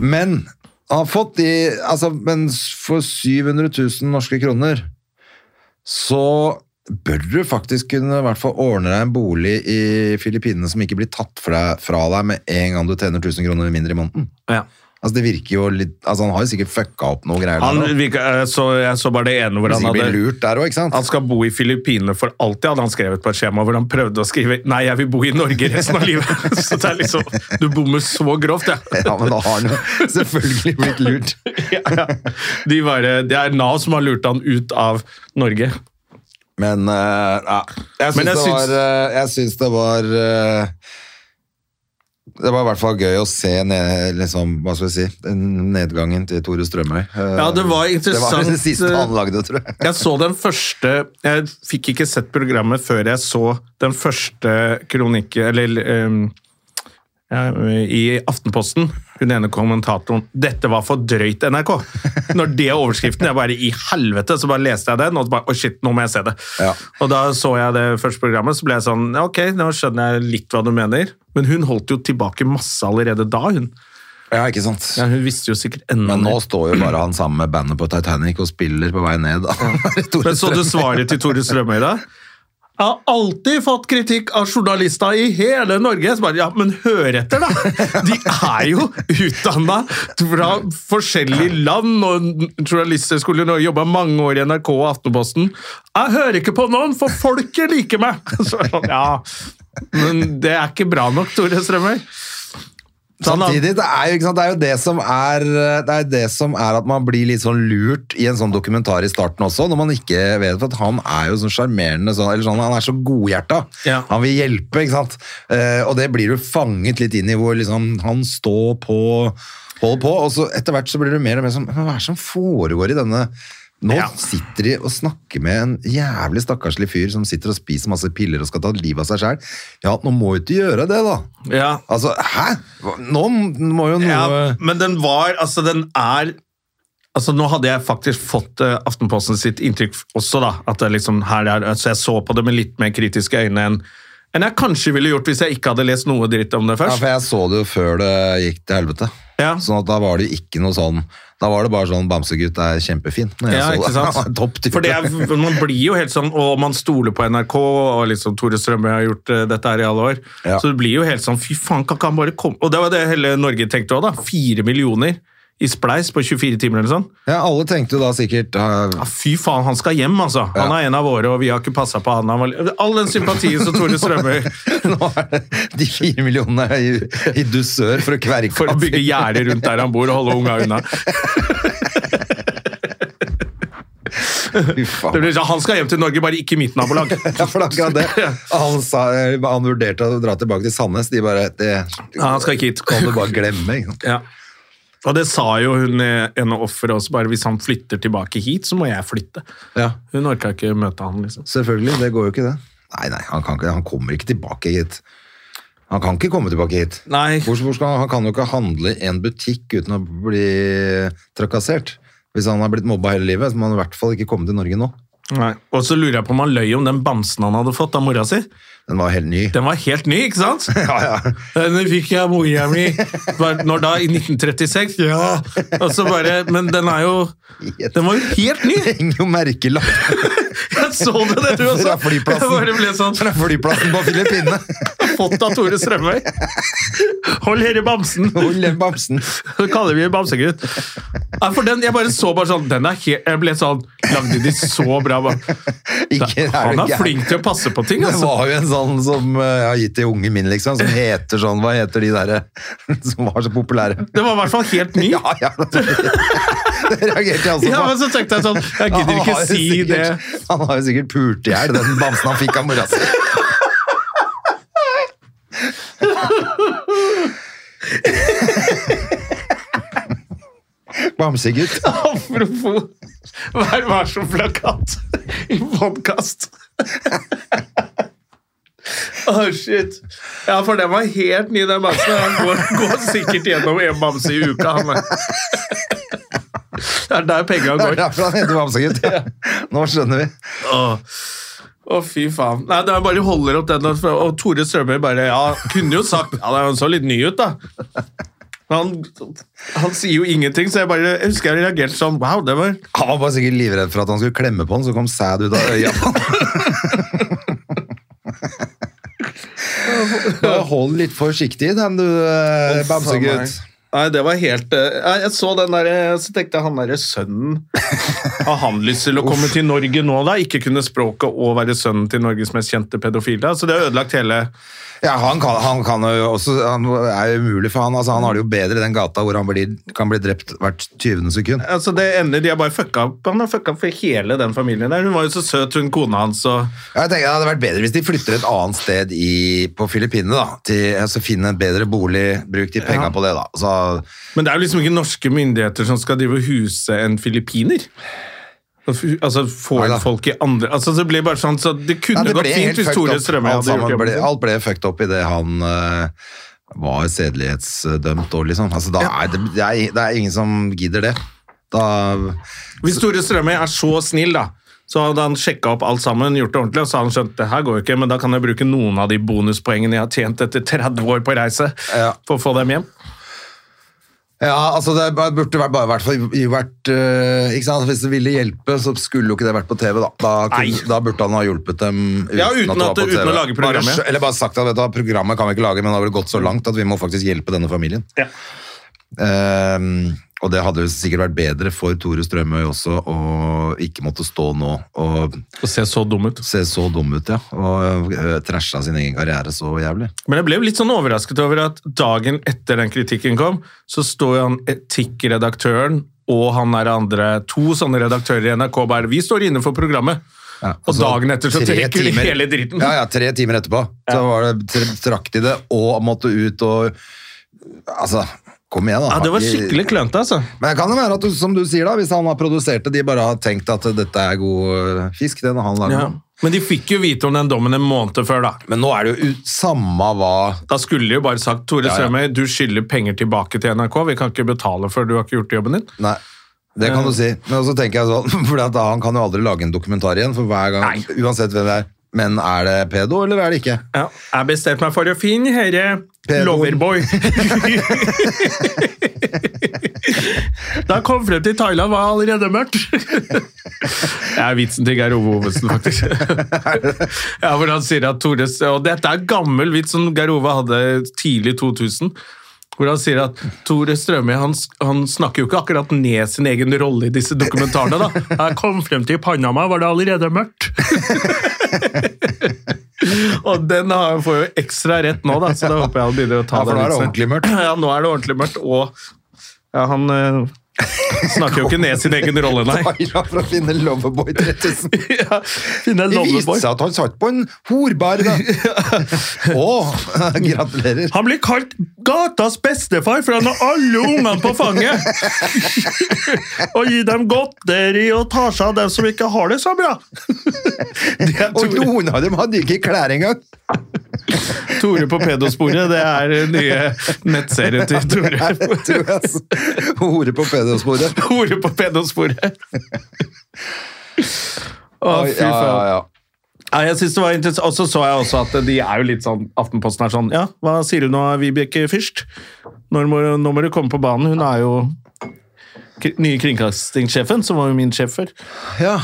Men Han har fått de altså, Men for 700 000 norske kroner så bør du faktisk kunne i hvert fall ordne deg en bolig i Filippinene som ikke blir tatt fra, fra deg med en gang du tjener 1000 kroner mindre i måneden. Ja. Altså, det virker jo litt altså, Han har jo sikkert fucka opp noen greier. Han, der, virka- jeg, så, jeg så bare det ene hvor da. han Sikkert blir hadde lurt der også, ikke sant? han skal bo i Filippinene for alltid, hadde han skrevet på et skjema hvor han prøvde å skrive 'nei, jeg vil bo i Norge resten av livet'. Så det er liksom Du bommer så grovt, ja. Ja, men da har han jo selvfølgelig blitt lurt. ja. De bare, det er Nav som har lurt han ut av Norge. Men eh, ja, jeg syns Men jeg det, syns- var, eh, jeg syns det var eh, Det var i hvert fall gøy å se ned, liksom, hva skal jeg si, den nedgangen til Tore Strømøy. Eh, Ja, det var Det interessant, var det siste eh, han lagde, tror jeg. Jeg så den første Jeg fikk ikke sett programmet før jeg så den første kronikken Eller ehm, ja, i Aftenposten. Hun ene kommentatoren 'Dette var for drøyt, NRK'. Når det er overskriften, jeg bare i helvete, så bare leste jeg den, og så bare, å shit, nå må jeg se det. Ja. Og da så jeg det første programmet, så ble jeg sånn ja, Ok, nå skjønner jeg litt hva du mener. Men hun holdt jo tilbake masse allerede da, hun. Ja, ikke sant. Ja, hun visste jo sikkert enda Men nå mer. står jo bare han sammen med bandet på Titanic og spiller på vei ned. da. Tore Men så du Strømøy. svaret til Tore Strømøy da? Jeg har alltid fått kritikk av journalister i hele Norge. Så bare, ja, Men hør etter, da! De er jo utdanna fra forskjellige land, og journalister skulle nå jobbe mange år i NRK og Aftenposten. Jeg hører ikke på noen, for folket liker meg! Så, er det sånn, ja, Men det er ikke bra nok, Tore Strømøy. Sånn Så han- Samtidig, det er, jo, ikke sant, det er jo det som er eh, Det er det som er at man blir litt sånn lurt i en sånn dokumentar i starten også, når man ikke vet for at han er jo sånn sjarmerende sånn, eller sånn, han er så godhjerta. Ja. Han vil hjelpe, ikke sant. Eh, og det blir du fanget litt inn i hvor liksom han står på, holder på, og så etter hvert så blir du mer og mer sånn Men hva er det som foregår i denne nå Ja. sitter de og snakker med en jævlig stakkarslig fyr som sitter og spiser masse piller og skal ta livet av seg sjæl. Ja, nå må jo ikke gjøre det, da. Ja, Altså, hæ? Hva- Nå må jo noe Ja, men den var Altså, den er Altså, Nå hadde jeg faktisk fått eh, Aftenposten sitt inntrykk også, da. at det liksom her er, altså Jeg så på det med litt mer kritiske øyne enn enn jeg kanskje ville gjort hvis jeg ikke hadde lest noe dritt om det Ja, først. for jeg så det jo før det gikk til helvete. Ja. Sånn at da var det jo ikke noe sånn Da var det bare sånn 'Bamsegutt er kjempefin'. Når jeg Ja, så det. ikke sant? Han var Topp type. For det er, Man blir jo helt sånn Og man stoler på NRK, og liksom Tore Strømøy har gjort eh, dette her i alle år. Ja. Så det blir jo helt sånn Fy faen, kan ikke han bare komme Og det var det hele Norge tenkte òg, da. Fire millioner i spleis på 24 timer eller sånn. Ja, alle tenkte jo da sikkert Ja, eh, fy faen, han skal hjem, altså. Han er en av våre, og vi har ikke passa på han. han var... All den sympatien som Tore Strømøy Nå er det de fire millionene i, i dusør for å kverke for å han. bygge gjerde rundt der han bor og holde unga unna. Fy Det faen. blir, sånn, han skal hjem til Norge, bare ikke i mitt nabolag. Ja, for det er akkurat det. Han, sa, han vurderte å dra tilbake til Sandnes. De bare Det Ja, han skal ikke hit. kan du bare glemme. ikke sant? Ja. Og det sa jo hun eh, en av offeret også, bare hvis han flytter tilbake hit, så må jeg flytte. Ja, Hun orka ikke møte han, liksom. selvfølgelig. Det går jo ikke, det. Nei, nei, han, kan ikke, han kommer ikke tilbake hit. Han kan ikke komme tilbake hit. Nei. Hvor, hvor skal han, han kan jo ikke handle i en butikk uten å bli trakassert. Hvis han har blitt mobba hele livet, så må han i hvert fall ikke komme til Norge nå. Nei. Og så lurer jeg på om han løy om den bamsen han hadde fått av mora si. Den var helt ny. Den var helt ny, ikke sant? Ja, ja. Denne fikk jeg av mora mi. Bare- Når da? I 1936? Ja! Og så bare, Men den er jo Den var jo helt ny! Det henger jo merkelapp Jeg så det, det du også. fra flyplassen, Jeg bare ble sånn fra flyplassen på Filippinene. Fått av Tore Strømøy. Hold herre bamsen! Hold den bamsen. Så kaller vi bamsegutt. Ja, for den, jeg bare så bare sånn Den er helt Jeg ble sånn Lagde de så bra bam- Ikke, Han du gæren? er flink til å passe på ting, Det altså. var jo en sånn som eh, jeg har gitt til ungen min, liksom, som heter sånn Hva heter de derre som var så populære? Det var i hvert fall helt ny. Ja, ja. Det reagerte jeg også på. Ja, men så tenkte jeg sånn Jeg gidder Han har ikke jo si det. sikkert- Han har jo sikkert pult i hjel den bamsen han fikk av mora si. Bamsegutt. Apropos Vær varsom-plakat i podkast. Å, shit. Ja, for den var helt ny, den bamsen. Han går, går sikkert gjennom en bamse i uka. Han. Det er der Det penga er går. derfor han heter Bamsegutt. Ja. Nå skjønner vi. Å, å, fy faen. Nei, det er bare holder opp den, og og Tore Strømøy bare ja, kunne jo sagt Ja, den så litt ny ut, da. Men han, han sier jo ingenting, så jeg bare jeg husker jeg reagerte sånn Wow, det var Han var bare sikkert livredd for at han skulle klemme på han, så kom sæd ut av øya på han. Ja, Hold litt forsiktig i den, du eh, bamsegutt. Nei, det var helt eh, nei, Jeg så den der, eh, så tenkte jeg han derre sønnen Har han lyst til å komme til Norge nå, da? Ikke kunne språket og være sønnen til Norges mest kjente pedofile? Så det har ødelagt hele Ja, han kan, han kan jo også Han er jo umulig for han. Altså, han har det jo bedre i den gata hvor han blir, kan bli drept hvert 20. sekund. Altså, det ender, De har bare fucka opp Han har fucka opp for hele den familien der. Hun var jo så søt, hun kona hans, og Jeg tenker Det hadde vært bedre hvis de flytter et annet sted i, på Filippinene. da, til, altså Finne en bedre bolig, bruk de penga på det, da. Så, Men det er jo liksom ikke norske myndigheter som skal drive og huse en filippiner. Altså få Nei da. inn folk i andre Altså Det ble bare sånn så Det kunne Nei, det ble gått fint helt hvis fucked Tore opp. Alt, Strømøy hadde gjort sammen jobben ble, sin. alt ble fucked opp idet han eh, var sedelighetsdømt òg, liksom. Altså, da er det, det, er, det er ingen som gidder det. Da Hvis Tore Strømøy er så snill, da, så hadde han sjekka opp alt sammen, gjort det ordentlig, og så hadde han skjønt det her går jo ikke, men da kan jeg bruke noen av de bonuspoengene jeg har tjent etter 30 år på reise, Ja. for å få dem hjem. Ja, altså det bare- burde vært- bare vært, for- vært eh, ikke sant? Hvis det ville hjelpe, så skulle jo ikke det vært på TV. Da Da, Nei. kunne, da burde han ha hjulpet dem Ja, uten at- uten å lage programmet. Bare, skj- eller bare sagt at vet du, hva, programmet kan vi ikke lage, men det har vel gått så langt at vi må faktisk hjelpe denne familien. Ja. Ehm, og det hadde jo sikkert vært bedre for Tore Strømøy også å ikke måtte stå nå og Og se så dum ut. se så dum ut, ja. Og uh, trasha sin egen karriere så jævlig. Men jeg ble jo litt sånn overrasket over at dagen etter den kritikken kom, så står jo han etikkredaktøren og han er andre, to sånne redaktører i NRK bare Vi står inne for programmet. Ja, altså, Og dagen etter så tre trekker de hele dritten. Ja, ja, tre timer etterpå. Så var det, tr- trakk de det, og måtte ut og Altså, kom igjen, da. Ja, Det var skikkelig klønete, altså. Men kan det være at, du- som du sier, da, hvis han har produsert det, de bare har tenkt at dette er god øh, fisk, den han lager. Ja. Men de fikk jo vite om den dommen en måned før, da. Men nå er det jo u- samme hva Da skulle de jo bare sagt Tore ja. Strømøy, du skylder penger tilbake til NRK. Vi kan ikke betale før du har ikke gjort jobben din. Nei. Det kan du si. Men så tenker jeg sånn, for at han kan jo aldri lage en dokumentar igjen, for hver gang, Nei. uansett hvem det er. Men er det pedo, eller er det ikke? Ja. Jeg bestemte meg for å finne herre Pedoen. Loverboy. da jeg kom frem til Thailand, var det allerede mørkt. Det er vitsen til Geir Ove Ovesen, faktisk. Ja, hvor han sier at Tore, Og dette er gammel vits som Geir Ove hadde tidlig 2000. Hvor han sier at Tore Strømøy han, han snakker jo ikke akkurat ned sin egen rolle i disse dokumentarene. da. Jeg kom frem til Panama, var det allerede mørkt. Og den har, får jo ekstra rett nå, da, så da håper jeg han begynner å ta Ja, for nå er det den vitsen. ordentlig mørkt. Ja, nå er det ordentlig mørkt, og ja, han eh, snakker jo ikke ned sin egen rolle, nei. Aira for å finne Loverboy 3000. Ja, Finne en Det viste loverboy. seg at han satt på en horbar, da. Å, gratulerer. Han blir kalt gatas bestefar, for han har alle ungene på fanget! og gir dem godteri og tar seg av dem som ikke har det så bra. det er Og Tore, noen av dem hadde ikke klær engang. Tore på pedosporet. Det er den nye nettserien til Nei, Tore. jeg tror jeg så- Hore på pedosporet. Hore på pedosporet. Å, Oi, fy Ja, ja, faen. ja. Nei, jeg synes det var interessant. Og så så jeg også at de er jo litt sånn Aftenposten er sånn Ja, hva sier du nå, Vibeke Fyrst? Når må, nå må du komme på banen. Hun er jo kri- nye kringkastingssjefen, som var jo min sjef før. ja.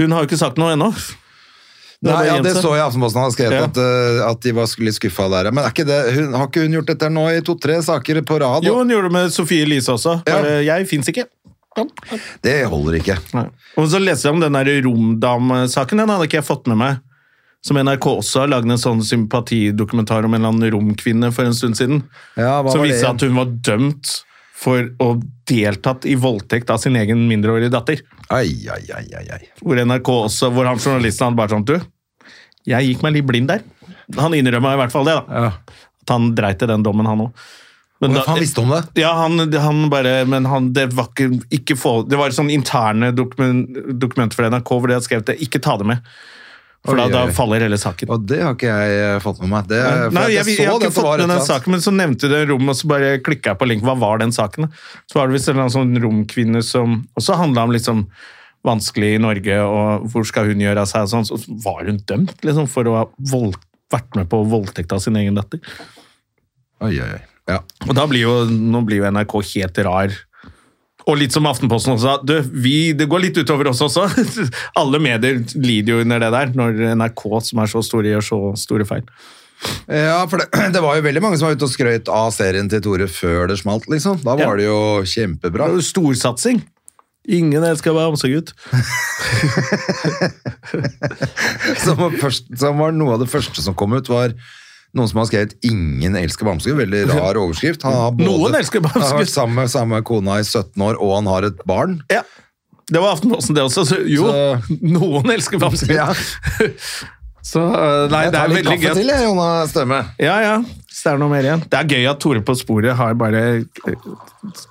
Hun har jo ikke sagt noe ennå. Det er Nei, bare ja, å det gjemme seg. så jeg i Aftenposten han har skrevet Ja. at, eh, at de var litt skuffa der. Men er ikke det, hun, har ikke hun gjort dette nå i to-tre saker på rad? Jo, og- hun gjorde det med Sofie Elise også. Ja. Bare, Jeg fins ikke. Det holder ikke. Nei. Og så leste jeg om den der Romdam-saken. Den hadde ikke jeg fått med meg. Som NRK også har lagd en sånn sympatidokumentar om en eller annen romkvinne for en stund siden. Ja, hva som var det viste igjen? at hun var dømt for å deltatt i voldtekt av sin egen mindreårige datter. Ai, ai, ai, ai, ai. Hvor NRK også, hvor han journalisten hadde bare sånn Du, jeg gikk meg litt blind der. Han innrømma i hvert fall det, da. At han dreit i den dommen, han òg. Men Hvordan faen visste hun det? ja, han, han bare Men han, det var ikke, ikke få, Det var sånn interne dokument, dokumenter fra NRK hvor de hadde skrevet det. Ikke ta det med. For Oi, da, oi. da faller hele saken. Og det har ikke jeg eh, fått med meg. Det, for Nei, at jeg, jeg, så det har ikke at det var et fått med den eller annet. saken, men så nevnte det rom, og så bare klikka jeg på link. Hva var den saken? da? Så var det visst en eller annen sånn romkvinne som også handla om liksom vanskelig i Norge, og hvor skal hun gjøre av seg og sånn. Så var hun dømt liksom, for å ha vold, vært med på voldtekt av sin egen datter. Oi, oi, oi. Ja. Og da blir jo, nå blir jo NRK helt rar. Og litt som Aftenposten også sa, du, vi, det går litt utover oss også. Alle medier lider jo under det der, når NRK, som er så store, gjør så store feil. Ja, for det, det var jo veldig mange som var ute og skrøt av serien til Tore før det smalt, liksom. Da Ja. var det jo kjempebra. Det er jo storsatsing. Ingen elsker å være homsegutt. Som var, først, som var noe av det første som kom ut, var noen som har skrevet 'Ingen elsker bamsegutt'. Veldig rar overskrift. Han har både, Noen elsker Bamsegutt. Han har vært sammen med samme kona i 17 år, og han har et barn. Ja. Det var Aftenposten, det også. Så, jo, Så- noen elsker bamsegutt. Ja. Så øh, nei, Jeg det tar er litt veldig kaffe gøy. til, jeg, Jonna Stømme. Ja, ja. Så det er noe mer igjen. Det er gøy at Tore på sporet har bare eh,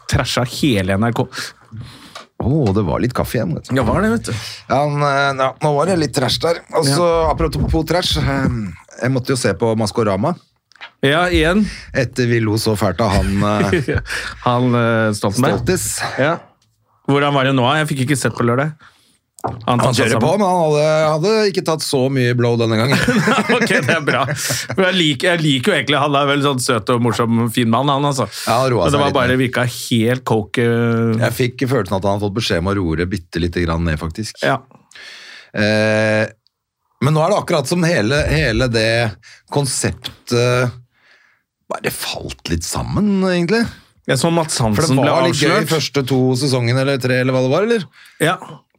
trasha hele NRK. Å, det var litt kaffe igjen. Vet du. Ja, var det, vet du. Ja, han, eh, ja, nå var det litt trash der. Og så, apropos trash, eh, jeg måtte jo se på Maskorama. Ja, igjen. Etter vi lo så fælt av han eh, Han eh, Stoltenberg. Stoltis. Ja. Hvordan var det nå? Jeg fikk ikke sett på lørdag. Han kjører på, men han hadde, hadde ikke tatt så mye blow denne gangen. ok, det er bra. For jeg liker, jeg liker jo egentlig Han er veldig sånn søt og morsom, fin mann, han altså. Ja, han roa Men seg det var litt bare ned. virka helt coke. eh, Jeg fikk følelsen at han hadde fått beskjed om å roe det bitte lite grann ned, faktisk. Ja. Eh, men nå er det akkurat som hele, hele det konseptet bare falt litt sammen, egentlig. Jeg så Mads For Hansen det ble var litt gøy de avslørt. første to sesongene, eller tre, eller hva det var, eller? Ja,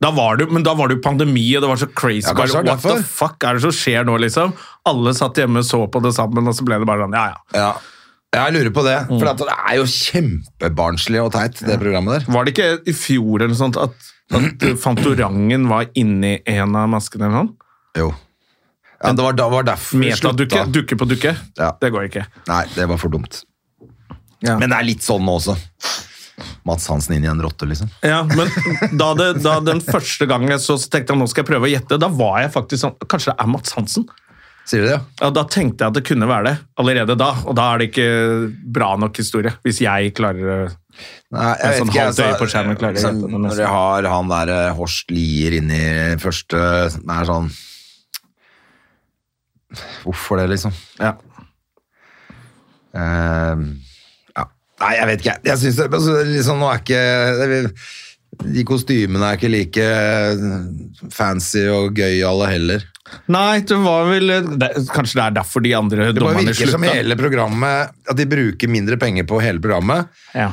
da var det, men da var det jo pandemi, og det var så crazy. Ja, bare, kanskje det er What the derfor. fuck er det som skjer nå, liksom? Alle satt hjemme og så på det sammen, og så ble det bare sånn, ja, ja. Mm. Ja. Jeg lurer på det, for at det er jo kjempebarnslig og teit, det programmet der. Var det ikke i fjor eller noe sånt at, at eh, Fantorangen var inni en av maskene eller noe? Jo. Ja, det var, da- var derfor vi Metadukke? slutta. Dukke på dukke? Ja. Det går ikke. Nei, det var for dumt. Ja. Men det er litt sånn nå også. Mats Hansen inn i en rotte, liksom. Ja, men da, det, da den første gangen jeg så, så tenkte jeg nå skal jeg prøve å gjette, da var jeg faktisk sånn, kanskje det er Mads Hansen? Sier du det? ja? Ja, da tenkte jeg at det kunne være det, allerede da, og da er det ikke bra nok historie, hvis jeg klarer det. Nei, En jeg vet sånn ikke. halvt øye på skjermen klarer jeg sånn, ikke å gjette det når jeg har han der eh, Horst Lier inni første Det er sånn Hvorfor det, liksom? Ja. Ehm, ja. Nei, jeg vet ikke. Jeg synes det, altså, liksom, nå er ikke De kostymene er ikke like eh, fancy og gøy alle heller. Nei, det var vel det, Kanskje det er derfor de andre Det bare dommerne virker slutta. som hele programmet At de bruker mindre penger på hele programmet, Ja.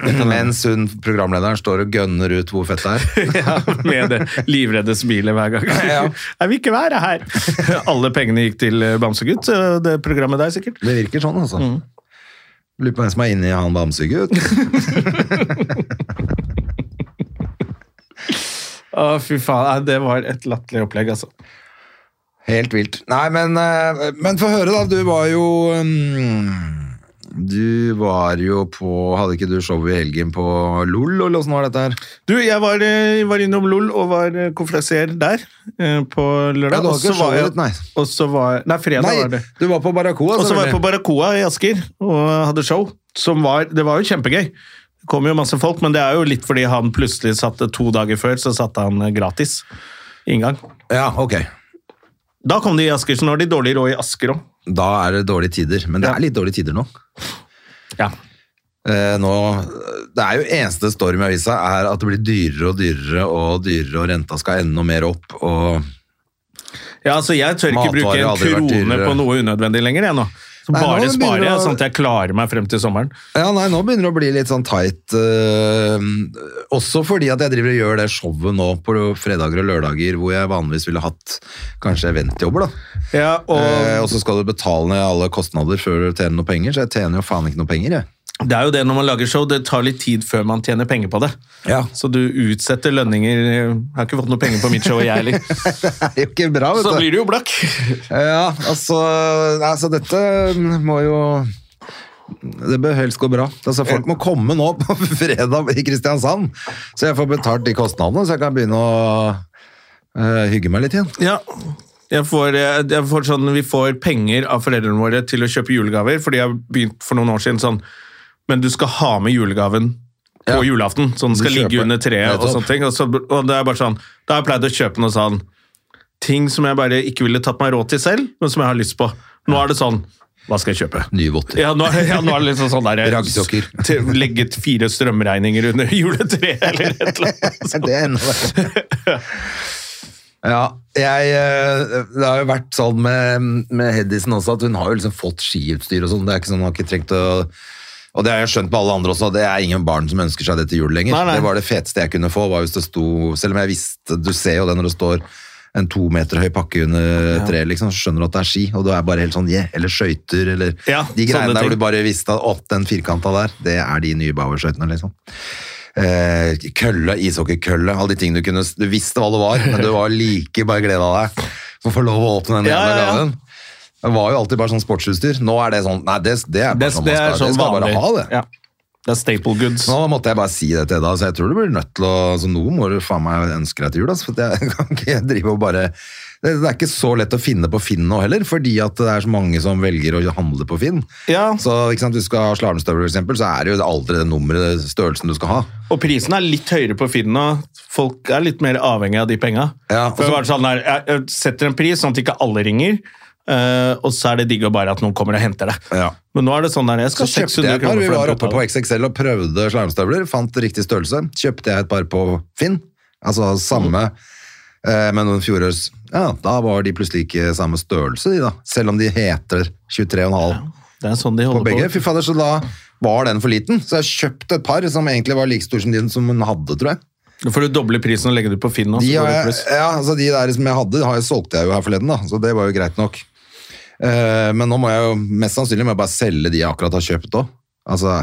mens hun programlederen står og gønner ut hvor fett det er. ja, Med det livredde smilet hver gang. Ja. Jeg vil ikke være her! Alle pengene gikk til eh, Bamsegutt, eh, det programmet der sikkert. Det virker sånn, altså. Mm. Lurer på hvem som er inni han bamsegutt. Å, fy faen. Nei, det var et latterlig opplegg, altså. Helt vilt. Nei, men, eh, men få høre, da. Du var jo mm, Du var jo på Hadde ikke du show i helgen på LOL, eller åssen var dette her? Du, jeg var, eh, var innom LOL og var eh, konferansier der eh, på lørdag. Ja, du har og så ikke var showet jeg- ditt, nei. Og så var Nei, fredag Nei, var det. du var på Barracoa. Og så var jeg på selvfølgelig. Barracoa i Asker og hadde show. Som var, det var jo kjempegøy. Det kom jo masse folk, men det er jo litt fordi han plutselig satte to dager før, så satte han eh, gratis inngang. Ja, ok. Da kom de i Asker, så nå har de dårlig råd i Asker òg. Da er det dårlige tider. Men det Ja. er litt dårlige tider nå. Ja. Eh, nå, det er jo eneste storm i avisa er at det blir dyrere og dyrere og dyrere, og renta skal enda mer opp. Og ja, altså jeg tør ikke Matvarer bruke har en aldri vært krone dyrere. på noe unødvendig lenger, jeg nå. Så Nei, nå bare begynner sparer jeg, det å- sånn at jeg klarer meg frem til sommeren. Ja, nei, nå begynner det å bli litt sånn tight. eh, også fordi at jeg driver og gjør det showet nå på fredager og lørdager, hvor jeg vanligvis ville hatt kanskje eventjobber, da. Ja, og Eh, og så skal du betale ned alle kostnader før du tjener noe penger, så jeg tjener jo faen ikke noe penger, jeg. det er jo det når man lager show, det tar litt tid før man tjener penger på det. Ja. Så du utsetter lønninger Jeg har ikke fått noe penger på mitt show, jeg heller. Det er jo ikke bra, vet Så du. blir du jo blakk. Ja, altså, altså dette må jo det bør helst gå bra. Altså, folk må komme nå på fredag i Kristiansand, så jeg får betalt de kostnadene, så jeg kan begynne å eh, hygge meg litt igjen. Ja. Jeg får, jeg får sånn, vi får penger av foreldrene våre til å kjøpe julegaver, fordi jeg begynte for noen år siden sånn Men du skal ha med julegaven på Ja. julaften, så Du den skal ligge kjøper- under treet og Nettopp. sånne ting. Og, så, og det er bare sånn Da har jeg pleid å kjøpe noe sånn ting som jeg bare ikke ville tatt meg råd til selv, men som jeg har lyst på. Nå er det sånn Hva skal jeg kjøpe? Nye votter. Ja, nå, ja, nå er det liksom sånn der Raggsokker. til- Legget fire strømregninger under juletreet eller et eller annet. Det er enda verre. Ja, jeg, eh, det har jo vært sånn med, med Hedisen også, at hun har jo liksom fått skiutstyr og sånn. Det er ikke sånn, hun har ikke trengt å... Og det har jeg skjønt på alle andre også, det er ingen barn som ønsker seg det til jul lenger. Nei, nei. Det var det feteste jeg kunne få, var hvis det sto... Selv om jeg visste, du ser jo det når det står en to meter høy pakke under tre, liksom, så skjønner du at det er ski, og du er bare helt sånn, yeah, eller skøyter, eller Ja, de sånne greiene der ting. hvor du bare visste at opp den firkanta der, det er de nye Bauer-skøytene, liksom. Eh, kølle, ishockeykølle, alle de tingene du kunne Du visste hva det var, men du var like bare gleda deg for å få lov å åpne den Ja, jævla ja, ja. gaven. Det var jo alltid bare sånn sportsutstyr. Nå er det sånn Nei, det, det er bare Det, sånn det man er skal, sånn det skal vanlig. bare ha, det. Ja. Det er staple goods. Nå måtte jeg bare si det til deg, så jeg tror du blir nødt til å Så nå må du faen meg ønske deg til jul, altså. For jeg kan ikke drive og bare det, det er ikke så lett å finne på Finn nå heller, fordi at det er så mange som velger å handle på Finn. Ja. Så ikke sant, hvis du skal ha slalåmstøvler, for eksempel, så er det jo aldri det nummeret, størrelsen du skal ha. Og prisen er litt høyere på Finn nå. Folk er litt mer avhengig av de penga. Ja, og For så- det var sånn der, jeg, jeg setter en pris sånn at ikke alle ringer, eh, og så er det digg å bare at noen kommer og henter det. Ja. Men nå er det sånn der, jeg Så skal ha kjøpte jeg 600 et par. kroner Vi for var den oppe på totalen. XXL og prøvde slalåmstøvler. Fant riktig størrelse. Kjøpte jeg et par på Finn. Altså samme, eh, men noen fjorårs. Ja, da var de plutselig ikke samme størrelse, de da. Selv om de heter 23,5 Det er sånn de på holder begge. på. Fy fader, så da var den for liten. Så jeg kjøpte et par som egentlig var like stor som de som hun hadde, tror jeg. Nå får du doble prisen og legge det på Finn. Også, De, har jeg, jeg, ja, altså de der som jeg hadde, har jeg, solgte jeg jo her forleden, da, så det var jo greit nok. Eh, men nå må jeg jo mest sannsynlig må jeg bare selge de jeg akkurat har kjøpt òg. Altså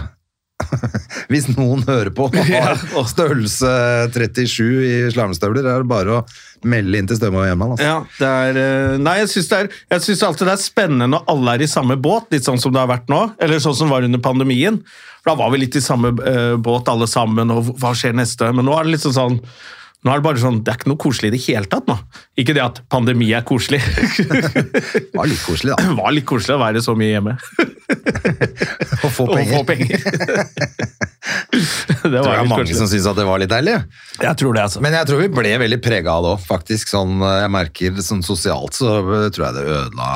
Hvis noen hører på og har størrelse 37 i slamstøvler, er det bare å melde inn til Støme og Hjemland. Altså. ja, det er, eh, nei, jeg syns det, er- jeg synes alltid det er spennende når alle er i samme båt, litt sånn som det har vært nå. Eller sånn som var under pandemien. For da var vi litt i samme eh, båt alle sammen, og hva skjer neste? Men nå er det liksom sånn nå er det bare sånn, det er ikke noe koselig i det hele tatt nå. Ikke det at pandemi er koselig. Det var litt koselig, da. Det var litt koselig å være så mye hjemme. Å få Og få penger. penger. det Det var var mange litt som koselig. syntes at det var litt deilig. Jeg tror det, altså. Men jeg tror vi ble veldig prega av det òg, faktisk. Sånn, eh, jeg merker sånn sosialt så eh, tror jeg det ødela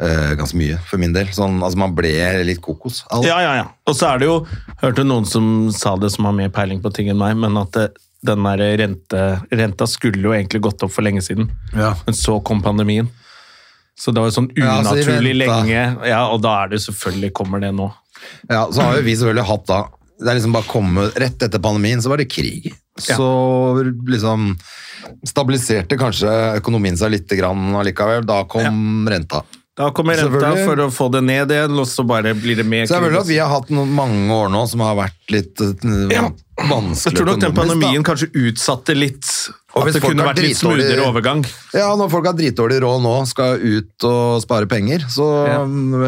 eh, ganske mye, for min del. Sånn, altså man ble litt kokos. av det. Ja, ja, ja. Og så er det jo, hørte noen som sa det som har mer peiling på ting enn meg, men at det, den der rente, renta skulle jo egentlig gått opp for lenge siden. Ja. Men så kom pandemien. Så det var jo sånn Ja, så de unaturlig venta. lenge. Ja, og da er det jo selvfølgelig kommer det nå. Ja, så har jo vi selvfølgelig hatt da Det er liksom bare kommet rett etter pandemien, så var det krig. Så liksom stabiliserte kanskje økonomien seg litt grann allikevel. Da kom renta. Da kommer renta Selvfølgelig. for å få det ned igjen, og så bare blir det mer Så jeg føler at krig. vi har hatt noen mange år nå som har vært litt eh, Ja. vanskelig Jeg tror nok den økonomisk, da. pandemien kanskje utsatte litt Og At hvis det folk kunne har vært litt dritdårlig- smoothere overgang. Ja, når folk har dritdårlig råd nå, skal ut og spare penger, så Ja. um,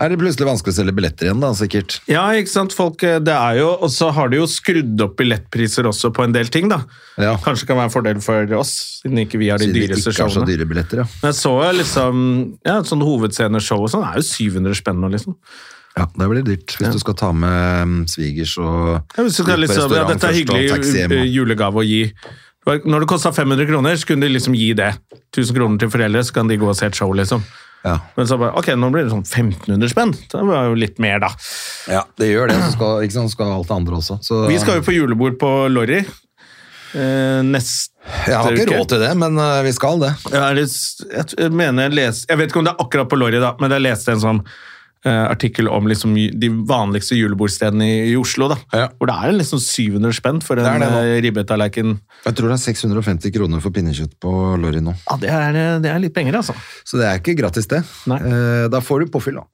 er det plutselig vanskelig å selge billetter igjen, da, sikkert. Ja, ikke sant, folk. eh, Det er jo, og så har de jo skrudd opp billettpriser også på en del ting, da. Ja. Kanskje kan være en fordel for oss, siden ikke vi har de Siden de dyreste ikke har så showene. dyre billetter, ja. Men jeg så jo liksom ja, et sånn hovedsceneshow og sånn, det er jo 700 spenn nå, liksom. Ja, det blir dyrt hvis du skal ta med um, svigers og Ja, hvis du ut på skal liksom, ja, restaurant dette er først og taxi hyggelig hjem, og- eh, julegave å gi. Det var- Når det kosta 500 kroner, så kunne de liksom gi det. 1000 kroner til foreldre, så kan de gå og se et show, liksom. Ja. Men så bare, ok, nå blir det sånn 1500 spenn. Det var jo litt mer, da. ja, det gjør det. Så skal, ikke sant, så skal alt det andre også. Så, Vi skal jo på julebord på Lorry eh, neste jeg har ikke uke. råd til det, men uh, vi skal det. Ja, det s- Jeg, t- jeg mener jeg leste Jeg vet ikke om det er akkurat på Lorry, da, men jeg leste en sånn eh, artikkel om liksom ju- de vanligste julebordstedene i, i Oslo. da, Ja. Hvor det er liksom 700 spenn for er en det nå. eh, ribbetallerken. Jeg tror det er 650 kroner for pinnekjøtt på Lorry nå, Ja, det er, eh, det er litt penger, altså. så det er ikke gratis, det. Nei. Eh, Da får du påfyll, da.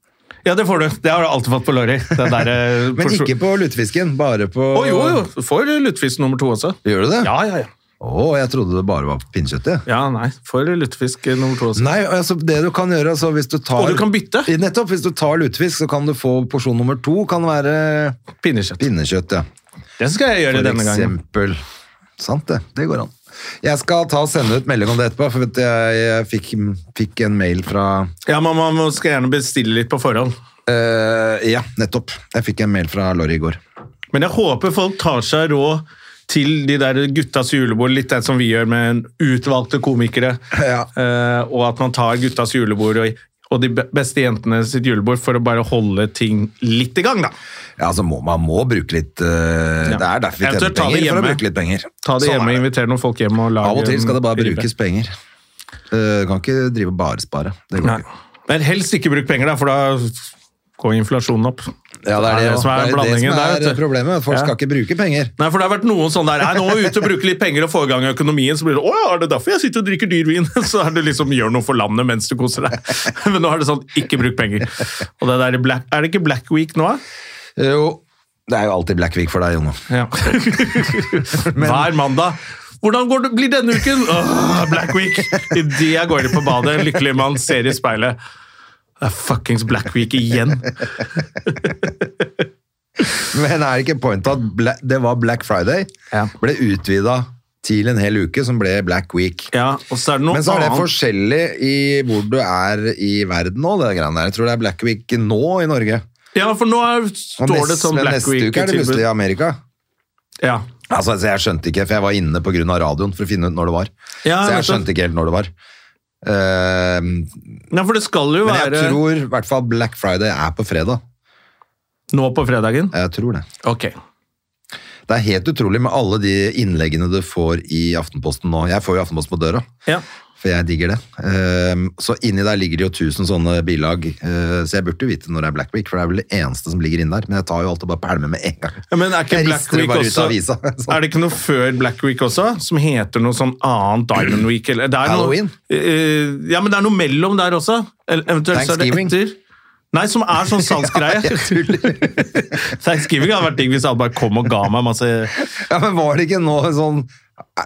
Ja, det får du. Det har du alltid fått på Lorry. Det der, Men eh, porsjon- ikke på lutefisken, bare på Å, jo, jo. Du får lutefisk nummer to også. Gjør du det? Ja, ja, ja. Å, jeg trodde det bare var pinnekjøttet. Ja, nei. Får lutefisk nummer to også. Nei, altså det du kan gjøre altså, hvis du tar, Og du kan bytte. Nettopp, hvis du tar lutefisk, så kan du få porsjon nummer to, kan være Pinnekjøtt. pinnekjøtt, ja. Det skal jeg For gjøre eh, denne gangen. eksempel. Sant det, det går an. Jeg skal ta og sende ut melding om det etterpå, for vet du, jeg, jeg fikk, fikk en mail fra Ja, men man må- skal gjerne bestille litt på forhånd. eh, Ja, nettopp. Jeg fikk en mail fra Lorry i går. Men jeg håper folk tar seg råd til de der guttas julebord, litt det som vi gjør med utvalgte komikere. Ja. Eh, og at man tar guttas julebord og og de be- beste jentene sitt julebord for å bare holde ting litt i gang, da. Ja, altså må, Man må bruke litt eh, Ja. Det er derfor vi tjener Eventuelt ta det penger. For å hjemme. bruke litt penger. Ta det Sånn hjemme, er det. inviter noen folk hjem og lage Av og til skal det bare en ribbe. brukes penger. Eh, Du kan ikke drive og bare spare. Det går Nei. ikke. Men helst ikke bruk penger, da, for da går inflasjonen opp. Ja, det er det, også. som er det, er det blandingen som der. er vet du. problemet. Folk Ja. skal ikke bruke penger. Nei, for det har vært noen sånn der Nei, nå er vi ute og bruker litt penger og får i gang økonomien, så blir det Å ja, er det derfor jeg sitter og drikker dyr vin? Så er det liksom gjør noe for landet mens du koser deg. Men nå er det sånn ikke bruk penger. Og det der i Black Er det ikke Black Week nå, da? Eh, Jo, det er jo alltid Black Week for deg, Jonno. Ja. Hver mandag. Hvordan går det, blir denne uken? Åh, Black Week! Idet jeg går inn på badet, en lykkelig mann ser i speilet. Det er fuckings Black Week igjen. Men er det ikke pointet at Bla- det var Black Friday? Ja. Ble utvida til en hel uke, som ble Black Week. Ja, og så er det noe Men så er det annet. forskjellig i hvor du er i verden nå, det greiene der. Jeg tror det er Black Week nå i Norge. Ja, for nå er, Og står det nest- sånn men Black neste uke er det plutselig i Week-tilbud. Amerika. Ja. Altså, altså, jeg skjønte ikke, for jeg var inne på grunn av radioen for å finne ut når det var. Ja, så jeg nettopp. skjønte ikke helt når det var. Eh, ja, for det skal jo men jeg være tror i hvert fall Black Friday er på fredag. nå på fredagen. Jeg tror det. Ok. Det er helt utrolig med alle de innleggene du får i Aftenposten nå. Jeg får jo Aftenposten på døra, Ja. for jeg digger det. Ehm, så inni der ligger det jo tusen sånne bilag, eh, så jeg burde jo vite når det er Black Week, for det er vel det eneste som ligger inne der. Men jeg tar jo alt og bare pælmer med en gang. Ja, Men er ikke Jeg Black rister det Week bare ut også av avisa. Er det ikke noe før Black Week også, som heter noe sånn annet Diamond Week? Eller, det er Halloween? Noe, eh, ja, men det er noe mellom der også. Eller eventuelt så er det Thanksgiving? etter. Nei, som er sånn salgsgreie. Jeg tuller. Thanksgiving hadde vært digg hvis alle bare kom og ga meg masse Jeg Ja, men var det ikke nå sånn